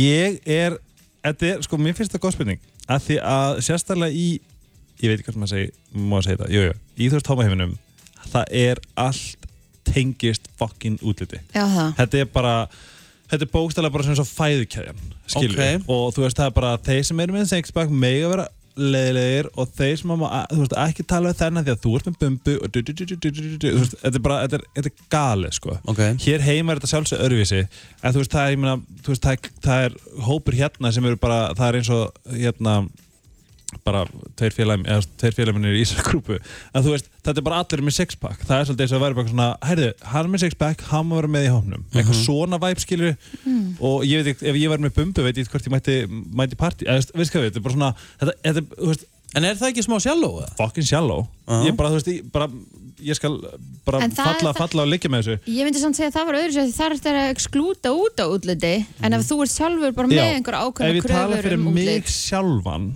Ég er, þetta er, sko, mér finnst þetta góð spurning að því að sérstaklega í ég veit ekki hvað maður segi, má að segja þetta jú, jú, í þú veist tómaheiminum það er allt tengist fokkin útliti
Já, það.
þetta er bara þetta er bókstæðlega bara svona svo fæðukæðjan skilur
Ok.
við. og þú veist það er bara þeir sem eru með sexpack mega vera leiðilegir og þeir sem að má, þú veist, ekki tala við þennan því að þú ert með bumbu og du, du, du, du, du, du, du, þú veist, þetta er bara, þetta er, þetta er galið, sko.
Ok.
Hér heima er þetta sjálfsög örvísi, en þú veist, það er, ég meina, þú veist, það er, það er hópur hérna sem eru bara, það er eins og, hérna, bara tveir félagum, eða tveir félagum í Ísakrúpu, en þú veist, þetta er bara allir með sixpack, það er svolítið eins og að vera bara svona, heyrðu, hann er með sixpack, hann má vera með í hófnum,
Mhm.
eitthvað svona væp skilur
Mm.
og ég veit ekki, ef ég var með bumbu, veit ég ekki hvort ég mætti, mætti partí, eða veist hvað við, þetta er bara svona, þetta, þetta, er, þú veist,
En er það ekki smá Uh-huh. sjálfó?
Fucking sjálfó, ég bara, þú veist, ég bara, ég skal bara
En það er
falla,
það-
falla og liggja með þessu.
Ég myndi samt segja að það var öðru sér því þar ertu að eksklúta út á útliti en ef þú ert sjálfur bara með einhver ákveðna
Mhm. Ef ég tala
kröfur
fyrir
um útlit
mig sjálfan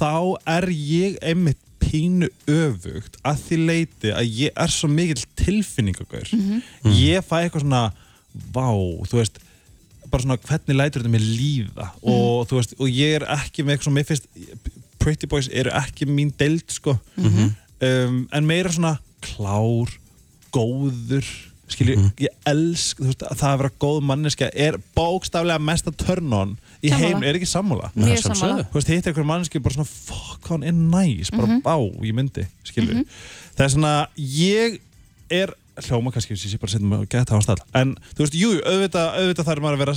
þá er ég einmitt pínu öfugt að því leiti að ég er svo mikill tilfinningagur
Mhm.
ég fæ eitthvað svona vá, þú veist bara svona hvernig lætur þetta mér líða og þú veist, og ég er ekki með eitthvað svona, mér finnst Pretty Boys eru ekki mín deild sko um, en meira svona klár góður skilju, ég elsk þú veist, að það að vera góð manneskja er bókstaflega mesta törnón í
Sammála.
heim, er ekki sammála
Mjög Nei, sammála. sammála.
þú veist, hittir einhver manneskja bara svona fuck, hvað hann er næs, bara
Mhm.
bá, ég myndi skilju,
Mhm.
það er svona ég er hljóma kannski sem ég bara setjum að geta á stall en þú veist, jú, jú, auðvitað, auðvitað þarf maður að vera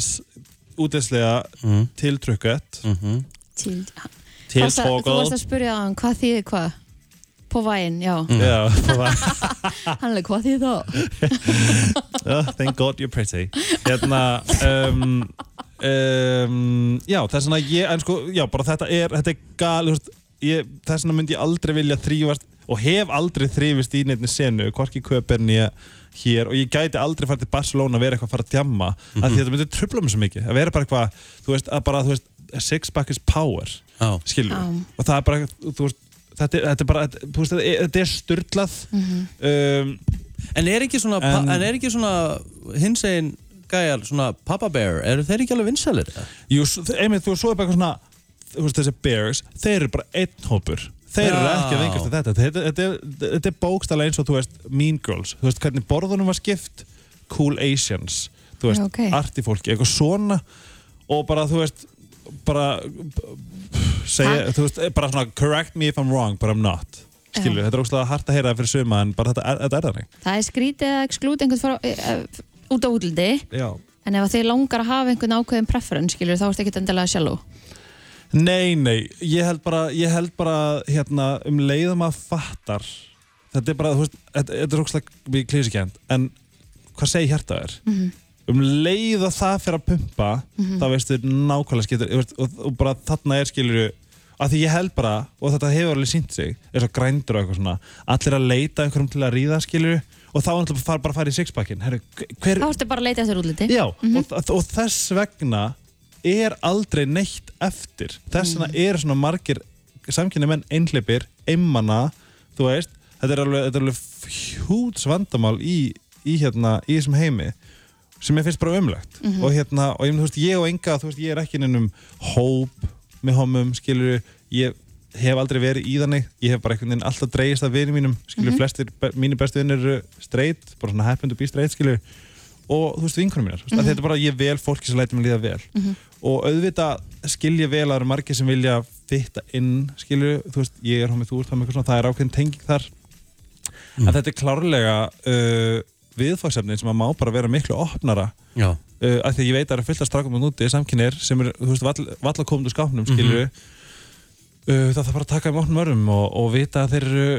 útlæslega
Mhm.
mm. tiltrykket mm -hmm.
Til- Hvað það- Þú varst að spyrja hann hvað þýðir hvað På væginn, já
Já, það var
Hann er hvað þýðir þá
oh, thank god you're pretty hérna um, um, já það er svona ég en sko já bara þetta er þetta er gal þú veist, ég, það er svona myndi ég aldrei vilja þrýfast og hef aldrei þrýfist í neittni senu hvorki köpern ég hér og ég gæti aldrei farið til Barcelona að vera eitthvað að fara að djamma af því að þetta myndi trubla mig svo mikið að vera bara eitthvað þú veist að bara þú veist six pack is power
oh.
skilur
Já.
og það er bara þú veist þetta er, þetta er bara þetta, þú veist, þetta er- þetta er styrlað um,
En er ekki svona, en, en er ekki svona hins einn gæjar, svona Papa Bear, eru þeir ekki alveg vinsælir?
Jú, s- einmitt, þú svo er bara eitthvað svona þú veist, þessi bears, þeir eru bara einn hópur þeir eru
Já.
ekki að vingast til þetta þetta, þetta, þetta, þetta er bókstala eins og þú veist Mean Girls, þú veist hvernig borðunum var skipt Cool Asians, þú veist
Já, ok.
arti fólki, eitthvað svona og bara þú veist bara segja, þú veist, bara svona correct me if I'm wrong, but I'm not skilu, þetta er óslega hart að heyra fyrir suma en bara þetta er, þetta er þannig
Það er skrítið að eksklúta einhvern frá, e, e, út á útliti
Já.
en ef að þið langar að hafa einhvern ákveðin preference skilur þá ertu ekkert endilega sjálfú
Nei, nei, ég held bara, ég held bara hérna, um leiðum að fattar þetta er bara, þú veist, þetta, þetta er ógslag við klísikend, en hvað segir hjartað þér?
Mhm.
Um leið að það fyrir að pumpa
Mhm.
þá veistu nákvæmlega skiptir veist, og, og bara þarna er skilur að því ég held bara, og þetta hefur alveg sínt sig eins og grændur og eitthvað svona allir að leita einhverjum til að ríða skilur og þá náttúrulega fara bara að fara í sixpackin Herru, hver,
Þá ertu bara að leita eftir útliti
Já,
Mhm.
og, þa- og þess vegna er aldrei neitt eftir þess
Mm.
vegna eru svona margir samkynni menn einhleipir, einmana þú veist, þetta er alveg, þetta er alveg hjúts vandamál í, í hérna, í þessum heimi sem ég finnst bara umlegt
Mhm.
og hérna, og ég, meina, þú veist, ég og enga, þú veist, ég er ekki í neinum hóp með homum, skilur ég hef aldrei verið í þannig ég hef bara einhvern veginn alltaf dreigist að vinið mínum skilur,
Mhm.
flestir, be- mínir bestu vinnir eru straight, bara svona happen to be straight, skilur og þú veist, vinkunum mínar, mm -hmm.
Mhm.
þetta er bara að ég vel fólki sem læti mig líða vel
Mhm.
og auðvitað skilja vel að það eru margir sem vilja fitta inn, skilur, þú veist ég er homið, þú ert homið, eitthvað svona, það er ákveðin tenging þar en þetta er klárlega uh, viðfagsefni sem að má bara vera miklu opnara
Já.
uh, af því að ég veit að það er fullt af strákum og núti samkynir sem eru, þú veist, vall, valla komundu skápnum skilur uh, það þarf bara að taka um opnum örfum og, og vita að þeir eru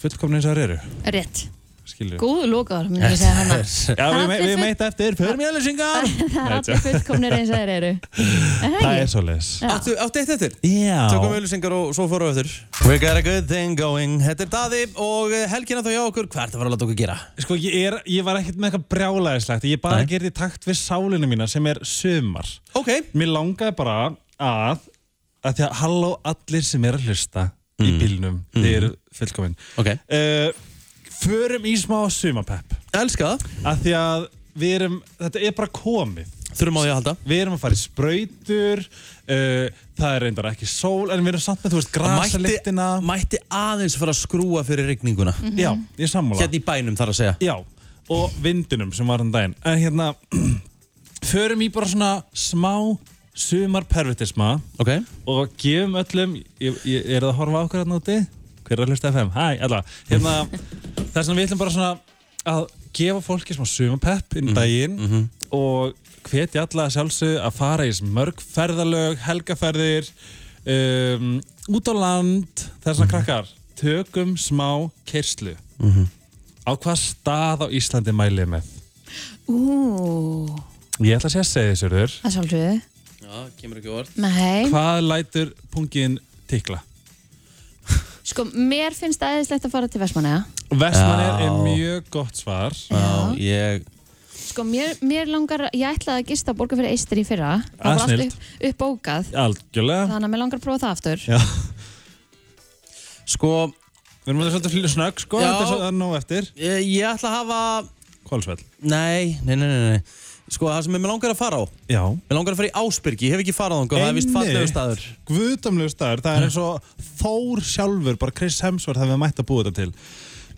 fullkomni eins og þeir eru
Rétt,
skilur
góðu lokaður myndi ég segja hana
Já, við, me- við meita eftir, förum í aðlýsingar
Það er allir fullkomnir eins og þeir eru Er það
Það
ekki?
er svo leis
Já.
Áttu, áttu eitt eftir?
Já
Tökum auðlýsingar og svo fórum við eftir We got a good thing going Þetta er Daði og eh, helgina þá hjá okkur Hvað ertu að fara að láta okkur gera?
Sko, ég, er, ég var ekkert með eitthvað brjálæðislegt Ég bara gerði í takt við sálinu mína sem er sumar
Ok
Mér langaði bara að að Því að halló allir sem er að hlusta Í bílnum, þið eru fullkomin
Mhm. Ok
uh, Förum í smá sumapepp
Elska það
Af því að við erum, þetta er bara komið
Þurfum á því að halda
Við erum að fara í sprautur uh, Það er reyndar ekki sól En við erum samt með, þú veist, grasalyktina
mætti, mætti aðeins fara að skrúa fyrir rigninguna
Mhm. Já, ég sammála
Hérna í bænum þar að segja
Já, um og vindunum sem var hann daginn En hérna, förum í bara svona smá sumar pervertisma
okay.
og gefum öllum ég, ég er það að horfa á okkur hérna úti hver er að hlusta FM, hæ, alla hérna, það er svona við ætlum bara svona að gefa fólki smá sumarpepp inn í daginn og hvetja alla að sjálfsög að fara í eins mörg ferðalög, helgaferðir um, út á land það er svona krakkar, tökum smá kerslu á hvað stað á Íslandi mælið þið með
Ú,
ég ætla að sé að segja þessu rör
það er svolítið.
Já, kemur ekki orð
Nei.
Hvað lætur pungin tikla?
Sko, mér finnst það aðeinslegt að fara til Vestmannaja.
Vestmannaeyjar er
Já.
mjög gott svar
Já, ég
Sko, mér, mér langar, ég ætlaði að gista að borga fyrir eistir í fyrra. Það
Ah,
var allt
snillt.
upp, upp bókað.
Algjörlega
Þannig að mér langar að prófa það aftur.
Já.
Sko
Við erum að svolítið fylgja snögg sko
Já.
Þetta er svolítið nóg eftir
Ég, ég ætla að hafa
Kólsvell
Nei, nei, nei, nei, nei. Sko, það sem ég með langar að fara á
Já
Mér langar að fara í Ásbyrgi, ég hef ekki farað þangað Það er vist fallegu staður
Guðdamlegu staður Það er eins og Þór sjálfur Bara Chris Hemsworth Það við mætt að búa þetta til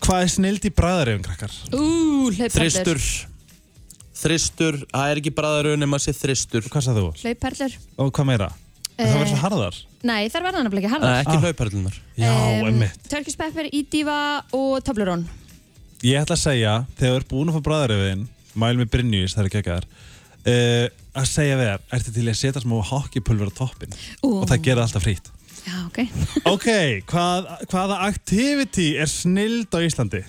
Hvað er snild í bræðarefum krakkar?
Ú, hlaupperlur.
Þristur Þristur, það er ekki bræðarun nema sé þristur
Hvað sagði þú?
Hlaupperlur.
Og hvað meira?
Það
verður svo harðar
Nei, þar verða hann að blekja
Nei,
harðar. Eh,
ekki ah. hlauparlunar
Já, emmi
Turkish pepper, ídífa og Toblerone.
Ég ætla að segja Þegar þú ert búin að fá bræðarefin Mæl með Brynjus Það er ekki ekki þar uh, Að segja við þér Ertu til í að setja smá hockeypulver á toppin
Ú.
Og það gera alltaf frýtt
Já, ok.
Ok, hvað, hvaða activity er snild á Íslandi?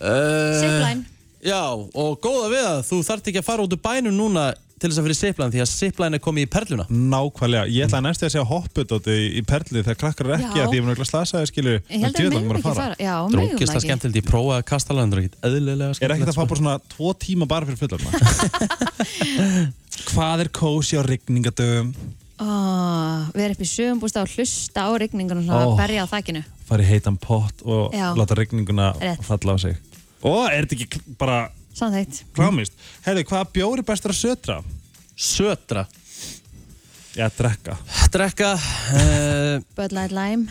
uh,
Zipline.
Já, og góða við það Þú þart ekki að fara út úr bænum núna til þess að fyrir Zipline Því að Zipline er komið í perluna
Nákvæmlega, ég ætlaði næstu að segja hoppudóti í perli þegar krakkar eru ekki
Já.
að því ég mun að slasa þið skilju
Ég held að við megum ekki fara. Já, megum
Drókist það
ekki.
skemmtilegt, ég prófaði að kasta landur ekkert eðlilega sko.
Er ekkert að fá bara svona tvo tíma bara fyrir fullarna Hvað er kósi á rigningadöfum?
Ó, við erum upp Ah, í sögumbústa og hlusta á rigningunum og
Ó.
oh. berja á þakkinu.
Fara í heitan pott og
Já.
láta rigninguna
Rétt.
falla á sig Ó, er þetta ekki kl- bara
Samþægt.
klámist? Herri, hvaða bjóri bestur að sötra?
Sötra?
Já, drekka
Drekka uh,
Bud Light Lime.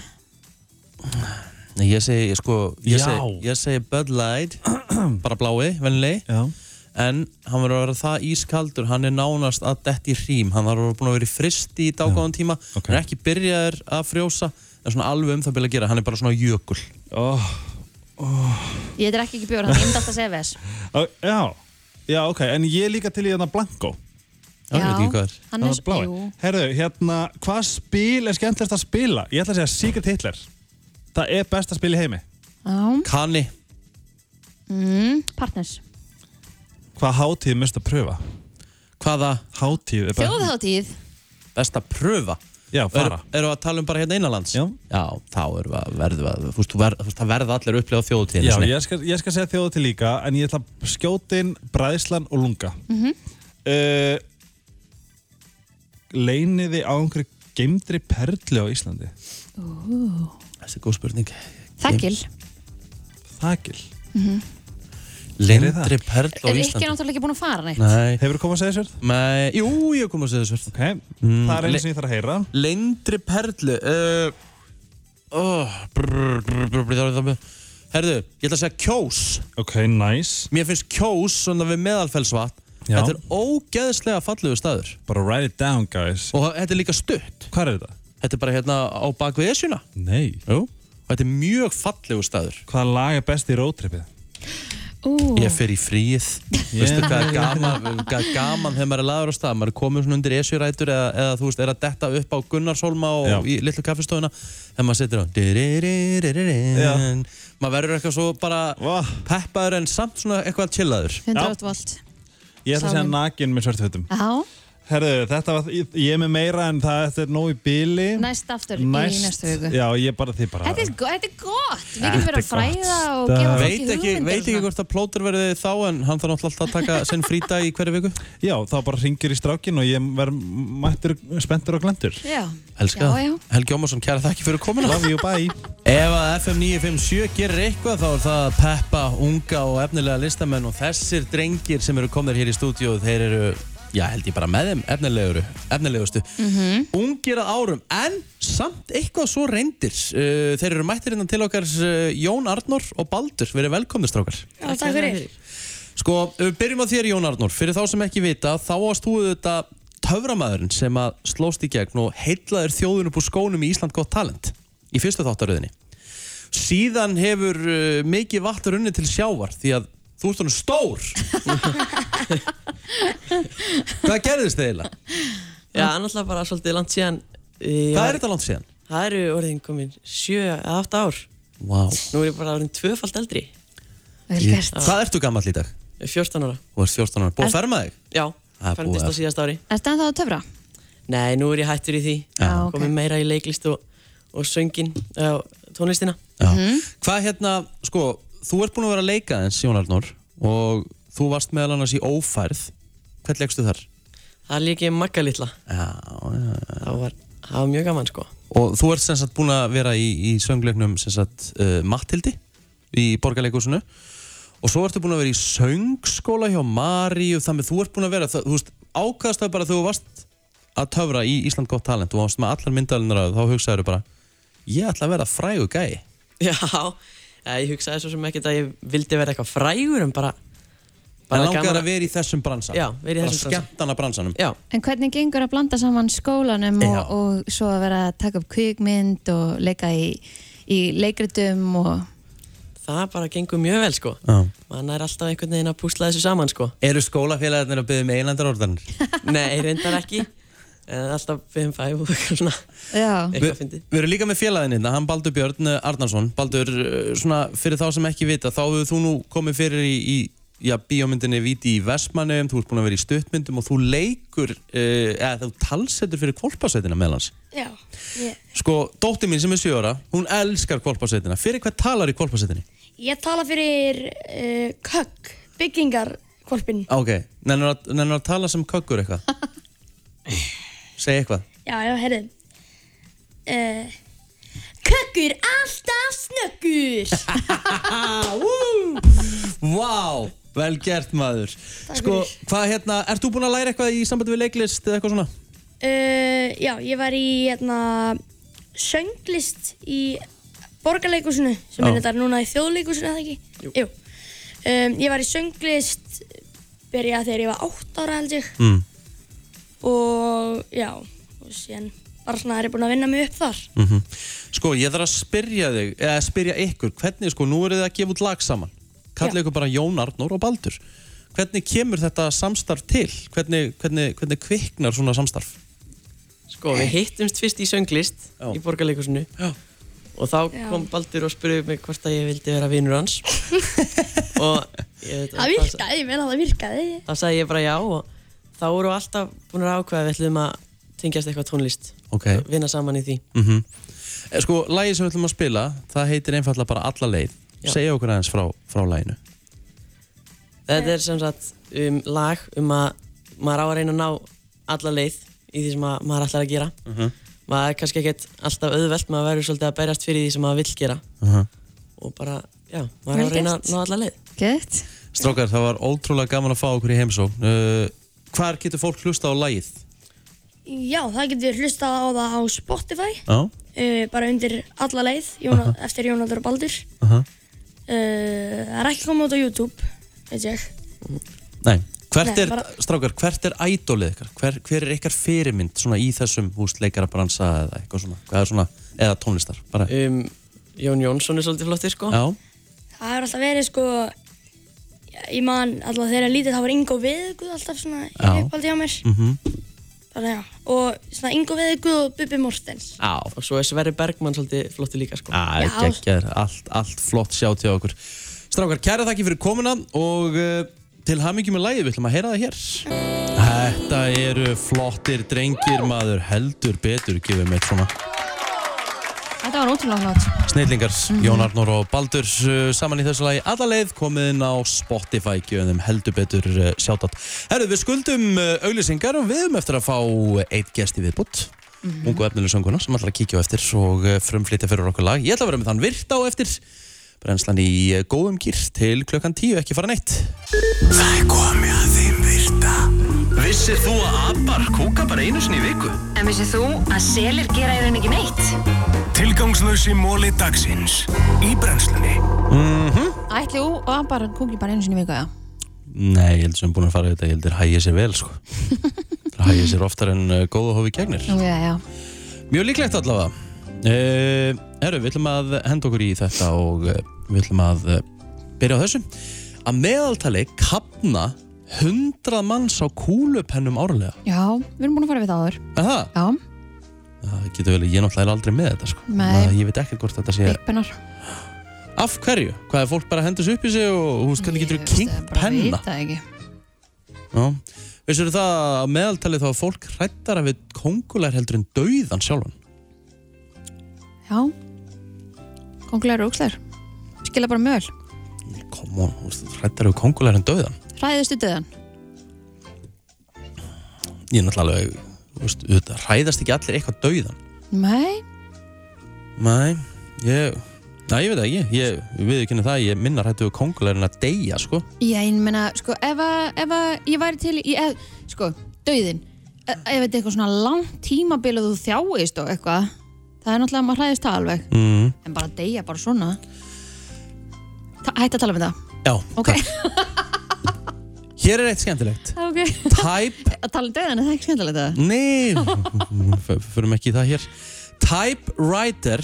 Nei, ég segi, ég sko Ég
Já.
segi, ég segi Bud Light Bara blái, venlilegi
Já
En hann verður að vera það ískaldur, hann er nánast að detti í hrím, hann þarf að vera búin að vera í fristi í dágáðan tíma, hann er ekki byrjaður að frjósa, það er svona alveg um það byrja að gera, hann er bara svona jökul.
Oh.
Ég drekki ekki bjór, þannig ég myndi alltaf að segja við þess.
Ó, Já, já, ok, en ég er líka til í þarna Blanko
Já, ég veit ekki hvað er. hann er
Hann er
svo-
blái.
jú.
Herðu, hérna, hvað spil er skemmtilegast að spila? Ég ætla að segja Secret Hitler Það er best að spila í heimi
Já.
Kanni
Mm, partners.
Hvað hátíð er mest að pröfa?
Hvaða?
Hátíð er bara
Þjóðháttíð.
best að pröfa.
Já, fara.
Eru- Erum við að tala um bara hérna innanlands? Já. Já, þá erum við að verða, þú veist, þú verð- þú veist, það verða allir að upplega þjóðutíðinu
Já, ég skal, ég skal segja þjóðu til líka En ég ætla að skjóta inn bræðslan og lunga
Mhm.
uh, Leyniði á einhverju geimdri perlu á Íslandi
Ú.
Þessi er góð spurning.
Þakkil.
Þakil
Mhm.
Lindri perl á
Er ekki
Íslandi.
náttúrulega ekki búin að fara neitt?
Nei.
Hefur þú komið að segja sérð?
Nei, jú, ég hef komið að segja sérð.
Ok, það er einu sem ég þarf að heyra.
Lindri perlu. Uh, oh, brr, brr, brr, brr, brr, brr. Herðu, ég ætla að segja kjós.
Ok, nice.
Mér finnst kjós svona við meðalfellsvatn.
Já.
Þetta er ógeðslega fallegu staður.
Bara write it down, guys.
Og þetta er líka stutt.
Hvað er þetta?
Þetta er bara hérna á bakvið Esjuna.
Nei.
Jú. Og þetta er mjög fallegu staður.
Hvaða lag er best í roadtripið?
Ú.
Ég fer í fríið Veistu hvað er gaman, hvað er gaman þegar maður er laður á stað maður er komin svona undir esjurætur eða, eða þú veist, er að detta upp á Gunnarshólma og
Já.
í litlu kaffistofuna þegar maður setur á
Já.
Di-ri-ri-ri-ri-rin. maður verður eitthvað svo bara peppaður en samt svona eitthvað chillaður
108 volt.
Ég ætla að segja
Sálin. Ah.
nakin með svartfötum.
Já.
Herðu, þetta var, ég ég er með meira en það þetta er nóg í bíli.
Næst aftur í næstu viku.
Já, ég bara, þið bara.
Þetta er, go- þetta er gott. Við getum
Þetta er
verið að
gott
fræða og
stað.
gefa fólki
veit ekki,
hugmyndir.
veit ekki hvort að plótur verði þá en hann þarf náttúrulega alltaf að taka sinn frídag í hverju viku
Já, þá bara ringir í strákin og ég verð mættur, spenntur og glendur.
Já.
Elska
Já, já.
það. Helgi Ómarsson, kæra þakki fyrir komuna.
Love you, bye.
Ef að FM 957 gerir eitthvað þá er það að peppa unga og efnilega listamenn og þessir drengir sem eru komnir hér í stúdíu þeir eru, já held ég bara með þeim efnileguru, efnilegustu.
Mhm.
Ungir að árum, en samt eitthvað svo reyndir. Uh, þeir eru mættir innan til okkar uh, Jón Arnór og Baldur. Verið velkomnir strákar. uh,
Já, takk fyrir.
Sko, ef við byrjum á þér Jón Arnór, fyrir þá sem ekki vita, þá varst þú auðvitað töframæðurinn sem að slóst í gegn og heitlaður þjóðun upp úr skónum í Ísland gott talent í fyrstu þáttaröðinni síðan hefur uh, mikið vatn runni til sjávar því að þú ert svona stór hvað gerðist þið eiginlega?
Já, annars bara svolítið langt síðan eh,
Hvað er þetta langt síðan?
Það eru orðin komin 7 eða 8 ár
Vá
Nú er ég bara orðin tvöfald eldri
Vel gert.
Hvað ertu gammal í dag?
14 ára
Þú ert 14 ára, búið að
Er-
ferma þig?
Já,
Það er
fermdist
búið
á
að-
síðast ári
Ertu ennþá að töfra?
Nei, nú er ég hættur í því
Já, ok.
Komið meira í leiklist og, og söngin uh, tónlistina
Hvað hérna, sko, þú ert búin að vera að leika eins, Jón Arnór og þú varst meðal annars í ófærð Hvernig leggstu þar?
Það lík ég magga litla
Já, já, já.
Það var, það var mjög gaman sko
Og þú ert sem sagt búin að vera í, í söngleiknum sem sagt uh, Mattildi í borgarleikúsinu og svo ertu búin að vera í söngskóla hjá Mari og þannig þú ert búin að vera, það, þú veist, ákast það bara þegar þú varst að töfra í Ísland gott talent og varst með allar myndalinnar að þá hugsaður bara, ég ætla að vera frægu gæi.
Já, eh, ég hugsaði svo sem ekkert að ég vildi vera eitthvað frægur en bara
Bara langar að vera í þessum bransan.
Já, vera í þessum bransa.
bransan. Bara skemmtana bransanum.
Já.
En hvernig gengur að blanda saman skólanum og,
Já.
og svo að vera að taka upp kvikmynd og leika í, í leikritum og
Það bara gengur mjög vel sko Man er alltaf einhvern veginn að púsla þessu saman sko
Eru skólafélagarnir að um byggja með einlandar orðanir?
Nei, reyndar ekki En alltaf 5-5 og eitthvað svona
Já.
Eitthvað fyndið
Við erum líka með félaginn hérna, hann Baldur Björn Arnarsson. Baldur, eh, svona fyrir þá sem ekki vita, þá hefur þú nú komið fyrir í, í já, bíómyndinni Víti í Vestmannum, þú ert búin að vera í stuttmyndum og þú leikur, eh, eða þú talsetur fyrir kvolpasveitina meðlans.
Já, ég,
Sko, dóttir mín sem er 7 ára, hún elskar kvolpasveitina. Fyrir hvað talar í kvolpasveitinni?
ég tala fyrir uh, kökk, byggingarkvolpin.
Ah, Ok, nennur að, nennir að tala sem kökkur eitthvað? Segð eitthvað.
Já, já, herrið. Uh, kökkur alltaf snöggur.
Vá, vel gert maður. Sko, hvað hérna, ert þú búin að læra eitthvað í sambandi við leiklist eða eitthvað svona?
uh, já, ég var í hérna, sönglist í borgarleikusinu, sem
Já.
er þetta núna í þjóðleikusinu, eða ekki? Jú. Um, ég var í sönglist, byrjað þegar ég var 8 ára held ég.
Mm.
Og já, og síðan bara svona er ég búin að vinna mig upp þar.
Sko, ég þarf að spyrja þig, eða spyrja ykkur, hvernig, sko, nú eru þið að gefa út lag saman. Kallið ykkur bara Jón Arnór og Baldur. Hvernig kemur þetta samstarf til? Hvernig, hvernig, hvernig kviknar svona samstarf?
Sko, við hittumst fyrst í sönglist í borgarleikusinu Já. og þá
Já.
kom Baldur og spurði mig hvort að ég vildi vera vinur hans og ég,
Það virkaði, ég meina það virkaði.
þá sagði ég bara já og þá voru alltaf búin að ákveða að við ætlum að tengjast eitthvað tónlist
Ok.
vinna saman í því
Mm Sko, lagið sem við ætlum að spila, það heitir einfallega bara Alla leið.
Já.
Segja okkur aðeins frá, frá laginu.
Þetta er sem sagt um, lag um að maður á að reyna að ná alla leið í því sem að, maður ætlar að gera
Mhm.
maður er kannski ekkert alltaf auðvelt maður verður svolítið að berjast fyrir því sem maður vill gera
Mhm.
og bara, já, maður á
Vel
að reyna
gert.
að ná alla leið
Gett.
Strákar, það var ótrúlega gaman að fá okkur í heimsókn. Uh, hvar getur fólk hlusta á lagið?
Já, það getur hlustað á það á Spotify,
Já.
uh, bara undir alla leið, Jóna, eftir Jónaldur og Baldur.
Aha.
Uh, það er ekki komið út á YouTube, veit ég.
Nei. Hvert
Nei,
er,
bara-
strákar, hvert er ædólið ykkar? Hver, hver er ykkar fyrirmynd svona í þessum hús leikarabansa eða eitthvað svona, hvað er svona, eða tónlistar, bara?
Um, Jón Jónsson er svolítið flottir sko
Já,
Það hefur alltaf verið sko, ég man alltaf þegar ég lítið, það var Ingo Viðguð alltaf svona í
Já.
upphaldi hjá mér.
mm -hmm.
Þannig já, og svona Ingo Viðguð og Bubi Mortens.
Já.
Og svo er Sverri Bergmann svolítið flottur líka sko.
Já,
Já.
geggjaður, allt, allt flott sjá til okkur. Strákar, kæra þakki fyrir komuna og uh, til hamingjum með lagið, við ætlum að heyra það hér. Þetta eru flottir drengir, maður heldur betur, gefum eitt svona.
Þetta var ótrúlega flott.
Snillingar, Jón Arnór og Baldur uh, saman í þessu lagi alla leið komið inn á Spotify gjöðum heldur betur uh, sjátat. Herru, við skuldum uh, auglýsingar og við um eftir að fá eitt gest í viðbútt. Ungu efnileg sönguna sem ætlar að kíkja á eftir og uh, frumflýta fyrir okkur lag. Ég ætla að vera með þann virt á eftir. Brennslan í uh, góðum kýr til klukkan 10, ekki fara neitt.
Það er komið að þeim virta
Vissir þú að abar kúka bara einu sinni í viku?
En vissið þú að selir gera í rauninni ekki neitt?
Tilgangslösi móli dagsins Í brennslunni
Mm
Mhm.
Ætli ú og hann bara kúkli bara einu sinni í viku, já.
Nei, ég held sem búin að fara í þetta, ég held þeir hægja sér vel, sko. Þeir Hægir sér oftar en uh, góða hófi gegnir.
Já, já.
Mjög líklegt allavega. Uh, herru, við ætlum að henda okkur í þetta og uh, við ætlum að uh, byrja á þessu. Að meðaltali kapna 100 manns á kúlupennum árlega.
Já, við erum búin að fara við það áður.
Aha.
Já,
Það getur vel, ég náttúrulega er aldrei með þetta sko.
Nei.
Ég veit ekkert hvort þetta sé...
pennar.
Af hverju? Hvað er fólk bara að henda þessu upp í sig og þú veist hvernig getur þú kynkt
Veit
penna?
það ekki.
Já. Vissur það að að meðaltali þá er fólk hrættara við kongular heldur en dauðan sjálfan?
Já. Kongulegur og úkslegur. Skila bara möl.
Come on, hrættara við kongular en dauðan?
Hræðistu döðan.
Ég er náttúrulega alveg, þú veist, auðvitað, hræðast ekki allir eitthvað dauðan?
Nei.
Nei, ég, næ, ég veit það ekki, ég, við ekki það, ég minna hrættu við kongular en að deyja, sko.
Já, ég meina, sko, ef að, ef að ég væri til í, ef, sko, döðin. Ef ef þetta er eitthvað svona langt tímabil og þú þjáist og eitthvað, það er náttúrulega að maður hræðist það alveg.
Mm.
En bara að deyja bara svona. Ta- Hætt að tala um það.
Já,
Ok.
Hér er eitt skemmtilegt.
Ok.
Tæp.
Að tala um döðan, er það ekki skemmtilegt það?
Nei, förum ekki í það hér Typewriter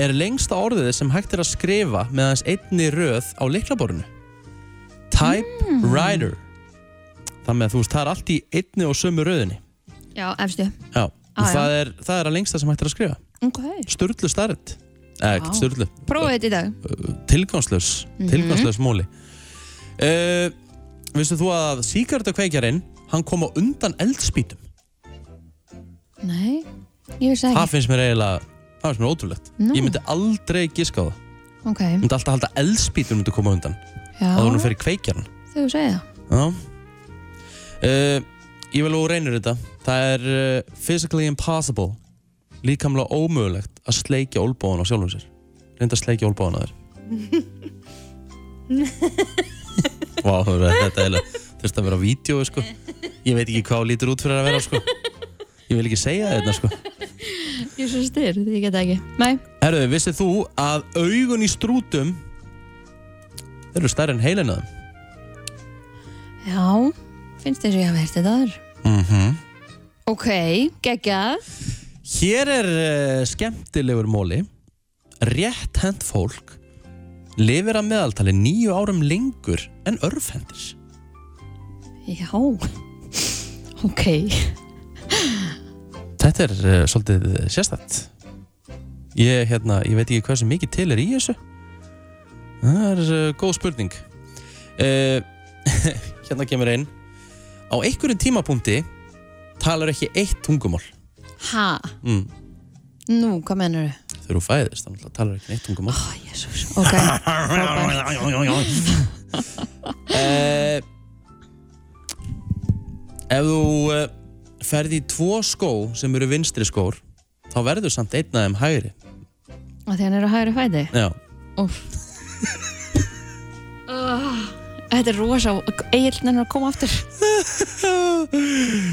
er lengsta orðið sem hægt er að skrifa með hans einni röð á leiklaborinu Typewriter
Mm.
Þannig að þú veist, það er allt í einni og sömu röðinni
Já, efstu.
Já,
Á,
og
Ah, já.
það er, það er að lengsta sem hægt er að skrifa
Ok.
Sturlu starrend Eða,
Vá.
ekkert sturlu,
Prófið þetta í dag.
tilgangslaus
Mhm.
tilgangslaus móli uh, Vistu þú að síkartakveikjarinn hann kom á undan eldspýtum
Nei, ég vissi það
Það
ekki.
finnst mér eiginlega, það finnst mér ótrúlegt
Nú.
Ég myndi aldrei giska á það
Ok,
Ég myndi alltaf halda að eldspýtur myndi koma á undan
já,
Áður hún fyrir kveikjarn
þegar þú segir það.
Já uh, Ég vil og reynir þetta Það er uh, physically impossible Líkamlega ómögulegt að sleikja olbóðan á sjálfum sér Reynda að sleikja olbóðan á þér Mm. Vá, wow, þetta er þurft að vera á vídeo sko. Ég veit ekki hvað þú lítur út fyrir að vera sko. Ég vil ekki segja þetta sko.
Ég er svo styr, því ég get það ekki. Nei,
Herðu, vissið þú að augun í strútum þeir eru stærri en heilinuðum?
já, finnst þér svo ég hafa hert þetta þar.
Mm -hmm.
Ok, geggjað.
Hér er uh, skemmtilegur móli. Rétt hend fólk lifir að meðaltali nýju árum lengur en örfhendir.
Já, ok.
Þetta er uh, svolítið eh, sérstætt. Ég, hérna, ég veit ekki hversu mikið til er í þessu. Það er uh, góð spurning. Uh, hérna kemur einn. Á einhverjum tímapunkti talar ekki eitt tungumál.
Ha,
Mm.
nú, hvað mennur þau?
Þegar þú fæðist, þannig að talar ekki neitt tungumál. Ó, oh,
jésús. Ok,
frábært. Eh, ef þú eh, ferð í tvo skó sem eru vinstri skór, þá verður samt einn af þeim hægri.
Af því hann er á hægri fæti.
Já.
Úf. Oh, þetta er rosa, eigin er að koma aftur.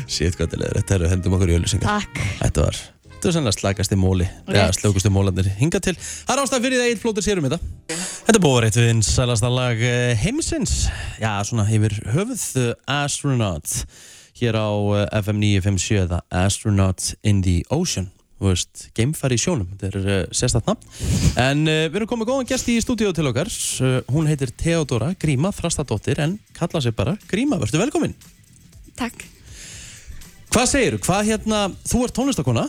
Sýtt hvað til er, þetta eru hendum okkur í öllusingar.
Takk.
Þetta var, þetta var sannlega slakasti móli, eða slökusti mólandir hinga til. Það er ástæðan fyrir því að einn flótur sér um þetta. Þetta er búið að vera eitt við eins sælasta lag eh, heimsins. Já, svona yfir höfuð eh, Astronaut hér á eh, FM 957 eða Astronaut in the Ocean. Þú veist, geimfari í sjónum, þetta er uh, sérstætt nafn. En uh, við erum komið góðan gest í stúdíu til okkar. Uh, hún heitir Theodora Gríma Þrastadóttir en kalla sig bara Gríma. Vertu velkomin.
Takk.
Hvað segiru? Hvað hérna, þú ert tónlistakona,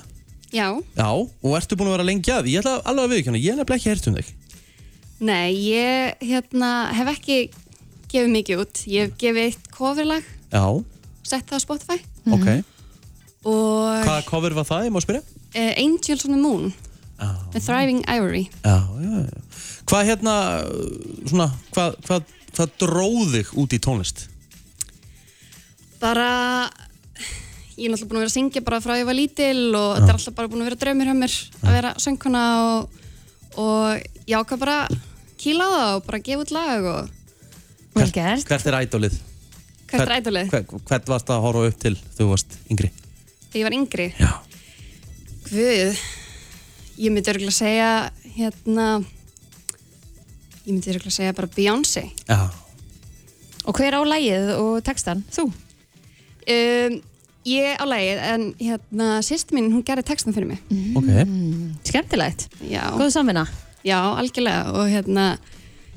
Já,
já, og ertu búin að vera lengi að því. Ég ætla alveg að viðkjöna, ég hef nefnilega ekki heyrt um þig.
nei, ég hérna, hef ekki gefið mikið út. Ég hef gefið eitt coverlag,
Já,
sett það á Spotify
ok.
og
Hvaða cover var það, ég má spyrja?
uh, Angels on the Moon
Ah.
með Thriving Ivory.
Já, já, já. Hvað hérna, uh, svona, hvað, hvað, hvað dróð þig út í tónlist?
Bara, ég er náttúrulega búin að vera að syngja bara frá ég var lítil og þetta er alltaf bara búin að vera draumir hjá mér að vera söngkona og, og ég ákvað bara að kýla á það og bara gefa út lag og
Vel gert. Hvert er ædolið?
hvert er ædolið?
Hvert, hvert varst að horfa upp til þegar þú varst yngri?
þegar ég var yngri Já. Guð ég myndi örgulega segja hérna ég myndi örgulega segja bara Beyoncé
Já.
Og hver á lægið og textan? Þú um, Ég á lagið, en hérna, sýst mín, hún gerði textan fyrir mig.
Mm, skemmtilegt.
Já.
Góð samvinna.
Já, algjörlega. Og hérna,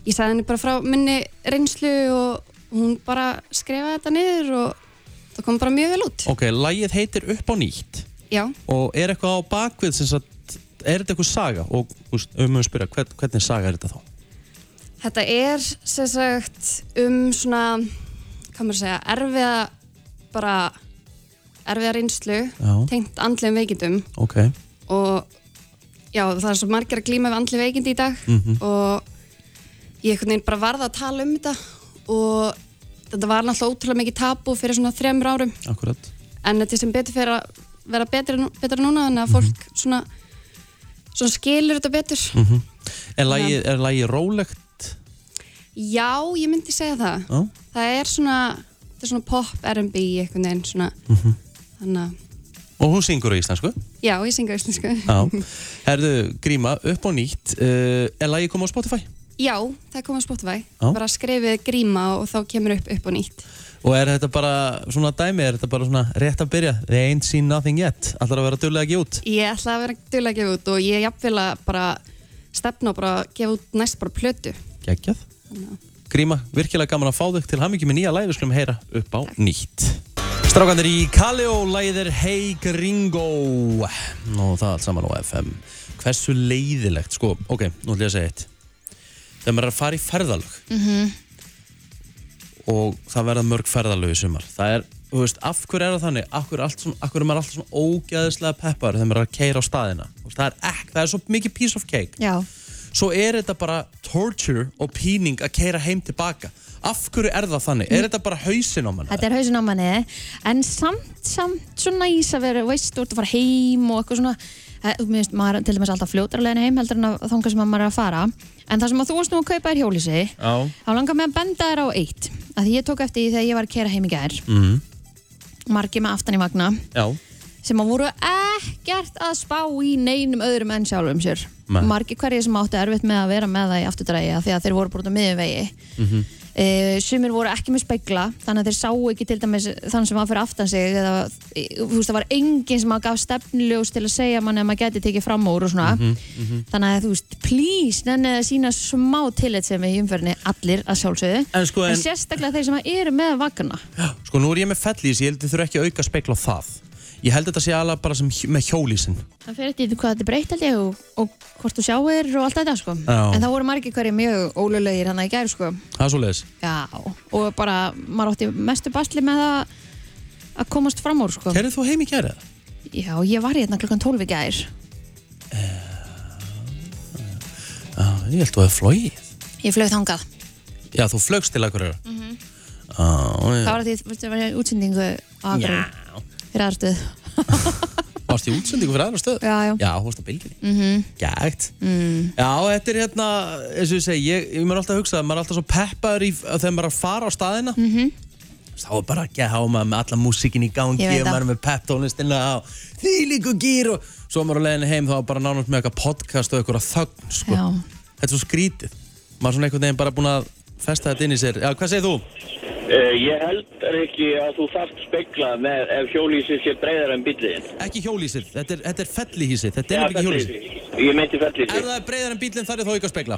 ég sagði henni bara frá minni reynslu og hún bara skrifaði þetta niður og það kom bara mjög vel út.
Ok, lagið heitir Upp á nýtt
Já.
og er eitthvað á bakvið sem sagt, er þetta eitthvað saga og úst, um að spyrja, hvern, hvernig saga er þetta þá?
Þetta er sem sagt um svona, hvað maður segja, erfiða bara erfiða reynslu
Já.
tengt andlegum veikindum
Ok,
og já, það er svo margir að glíma við andli veikindi í dag
Mhm.
og ég einhvern veginn bara varða að tala um þetta og þetta var náttúrulega ótrúlega mikið tabu fyrir svona þremur árum
akkurat
en þetta er sem betur fyrir að vera betra, nú- betra núna þannig að
Mhm.
fólk svona, svona skilur þetta betur
mm Er lagið, er lagið rólegt?
Já, ég myndi segja það
Já.
það er svona, þetta er svona pop R&B einhvern veginn svona þannig að,
Mhm. Og hún syngur á íslensku
já, ég synga íslensku
Já, herðu, gríma, upp á nýtt uh, Er lagið komið á Spotify?
Já, það kom á Spotify
Já.
bara skrifið gríma og þá kemur upp upp og nýtt
Og er þetta bara svona dæmi, er þetta bara svona rétt að byrja? They ain't seen nothing yet Allar að vera dullega ekki út
Ég ætla að vera duðlega að gefa út og ég er jafnvel að bara stefna og bara gefa út næst bara plötu.
Gægjað Gríma, virkilega gaman að fá þig til hamingjum með nýja læg Við skulum heyra upp á nýtt Strákandir í Kaleo, læðir Hey Gringo Og það allt saman á FM Hversu leiðilegt, sko, ok, nú ætlum ég að segja eitt Þegar maður er að fara í ferðalög og það verða mörg ferðalög í sumar það er, þú veist, af hverju er það þannig af hverju, er allt svona, af hverju er maður alltaf svona ógæðislega peppar þegar maður er að keira á staðina Þú veist, það er ekk, það er svo mikið piece of cake
Já.
svo er þetta bara torture og píning að keira heim tilbaka af hverju er það þannig, er þetta bara hausin á manna
Þetta er hausin á manni, en samt, samt svo næs að vera, veist, þú ert að fara heim og eitthvað svona, eh, þú veist, maður er til dæmis alltaf fljótar að leiðin heim heldur en að þanga sem að maður er að fara, en það sem að þú varst nú að kaupa er hjólísi,
Já
þá langar mig að benda þér á eitt, að því ég tók eftir því þegar ég var að kera heim í gær,
mm.
margi með aftan í vagna,
Já,
sem að voru ekkert að spá í neinum öðrum enn sjálfum sér.
Nei.
Margi hverjir sem áttu erfitt með að vera með það í afturdræja því að þeir voru bara út á miðjum vegi.
Mhm.
Uh, sumir voru ekki með spegla þannig að þeir sáu ekki til dæmis þann sem var fyrir aftan sig eða eh, þú veist það var enginn sem að gaf stefnljós til að segja manni að maður geti tekið fram úr og svona
Mhm.
þannig að þú veist, please nennið að sína smá tillit sem í umferðinni allir að sjálfsögðu
En sko, en-
sérstaklega þeir sem að eru með vagna
sko nú er ég með fellís, ég held að þú þurfa ekki að auka spekla á það ég held að þetta sé alveg bara sem hj- með hjólísin
það fer eftir því hvað þetta er breytt held ég og, og hvort þú sjáir og allt þetta sko
Já.
en það voru margir hverju mjög ólulegir hann að í gær sko
það er svo leiðis
Já, og bara maður átti mestu basli með að að komast fram úr sko
Kerðið þú heim í kærið?
Já, ég var hérna klukkan 12 í gær
Ah, Ég held að þú hefði flóið
Ég flög þangað
Já, þú flögst til Ah, akkur
mm
Það
Það var því að það var í útsendingu á Akureyri fyrir aðstöð
Varst í útsendingu fyrir aðra stöð?
Já, Mm. já.
Já, þú varst á bylginni.
mm -hmm.
Gægt. Já, þetta er hérna, eins og ég segi, ég, ég mér alltaf að hugsa að maður er alltaf svo peppaður í, þegar maður er að fara á staðina. Mm
-hmm.
Þá er bara ekki að hafa maður með alla músikin í gangi
Ég veit
og
það.
maður er með pepptónlistina á því líku gýr og svo er maður á leiðinni heim þá er bara nánast með eitthvað podcast og eitthvað þögn, sko.
Já.
Þetta er svo skrítið. Maður er svona einhvern veginn bara búin að festa þetta inn í sér. Já, hvað segir þú?
Eh, Ég held ekki að þú þarft spegla með ef hjólísið sé breyðar en bíliðin.
Ekki hjólísið, þetta er, þetta er fellihísið, þetta er nefnilega ekki hjólísið.
Ég meinti fellísið.
Ef það er breyðar en bílinn þar er þá ekki að spegla.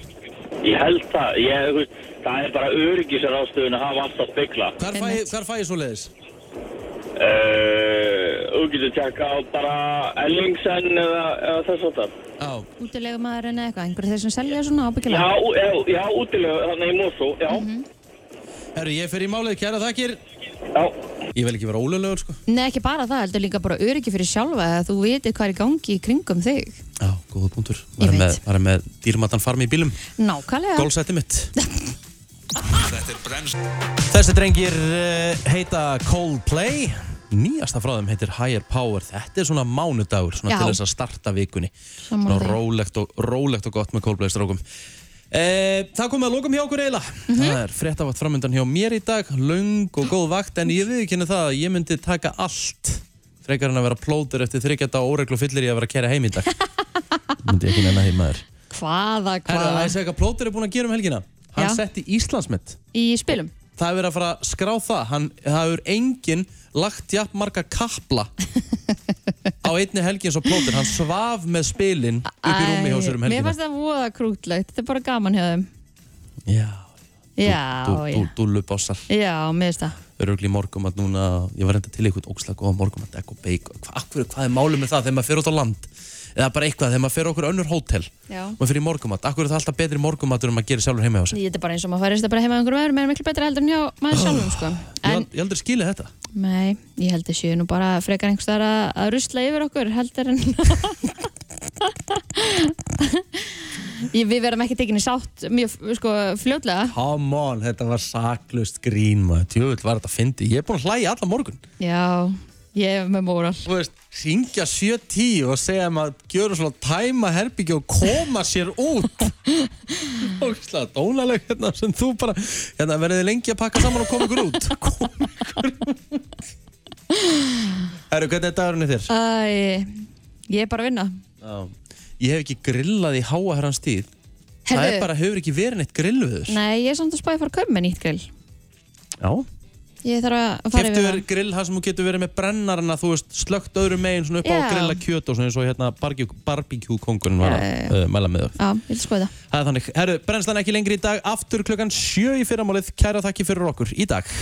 Ég held það, ég, þú veist, það er bara öryggisar ástöðun að hafa alltaf spegla.
Hvar fæ, ég- hvar fæ ég svo leiðis?
Uh, þú getur tjekka á bara Ellingsen eða, eða þess að það.
Já.
Útilega maður en eitthvað, einhverju þeir sem selja svona ábyggilega
Já, já, já útilega, þannig í Mosó, já.
Mhm. Herru, ég fer í málið, kæra þakkir.
Já.
Ég vil ekki vera ólöglegur, sko.
Nei, ekki bara það, heldur líka bara öryggi fyrir sjálfa að þú veitir hvað er í gangi í kringum þig
Já, góða punktur. Ég veit. Með, var með dýrmatan farmi í bílum.
Nákvæmlega
Gólsætti mitt.
Þetta er brenns
Þessi drengir eh, heita Coldplay. Nýjasta frá þeim heitir Higher Power. Þetta er svona mánudagur, svona
Já.
til þess að starta vikunni. svona
Sammála því.
rólegt og, rólegt og gott með Coldplay strókum. E, það komið að lokum hjá okkur eiginlega.
Mhm.
Það er fréttavakt framöndan hjá mér í dag, löng og góð vakt, en ég viðkynna það að ég myndi taka allt frekar en að vera plótur eftir þryggjata og óreglu fyllir í að vera að kæra heim í dag. myndi ekki nefna heim maður.
Hvaða,
Herra,
hvaða
það er að segja hvað plótur er búinn að gera um helgina. Hann
Já.
setti Íslandsmet.
Í spilum
það hefur verið að fara að skrá það hann, það hefur enginn lagt jafn marga kapla á einni helgi eins og plótur hann svaf með spilin upp í rúmi hjá sér um
Mér
helgina
fannst það voða krútlegt, þetta er bara gaman hjá þeim
Já,
Já,
dú, dú,
já,
dúllubossar
já, mér finnst það
örugli morgumat núna ég var reynda til eitthvað ógslag góða morgumat ekko beik Hva, akkur, hvað er málið með það þegar maður fer út á land eða bara eitthvað þegar maður fer á okkur önnur hótel
Já,
maður fer í morgumat akkur er það alltaf betri morgumatur en maður gerir sjálfur heima hjá sér Ah.
þetta er bara eins og maður færist að bara heima einhverjum öðrum er miklu betra heldur en hjá maður sjálfum sko.
ég, ég aldrei skilja þetta
Nei, ég held að séu nú bara frekar einhvers þar að, að rusla yfir okkur heldur en Ég- Við verðum ekki tekinni sátt mjög sko, fljótlega
come on þetta var saklust grín maður tjóðvill var þetta fyndi ég er búin að hlæja allan morgun
Já, ég er með móral
þú veist syngja 7-10 og segja að maður gjörur svona tæma herbyggja og koma sér út ógslag dónaleg hérna sem þú bara hérna verðið þið lengi að pakka saman og koma ykkur út Herru, hvernig er dagurinn í þér?
Æ, ég er bara að vinna
Já. Ég hef ekki grillað í háa herrans tíð. Það
Herðu.
er bara, hefur ekki verið neitt grillviður.
Nei, ég er samt að spáði að fara að kaupa með nýtt grill
Já.
Ég þarf að fara
Keftu
yfir
verið grill þar sem þú getur verið með brennarna, þú veist, slögt öðru megin svona upp á
Já.
að grilla kjöt og svona eins og hérna barbecue-kongurinn var að uh, mæla með þau.
Já, ég vil skoða það
Það er þannig. Herru, brennslan ekki lengri í dag, aftur klukkan sjö í fyrramálið. Kæra þakki fyrir okkur í dag.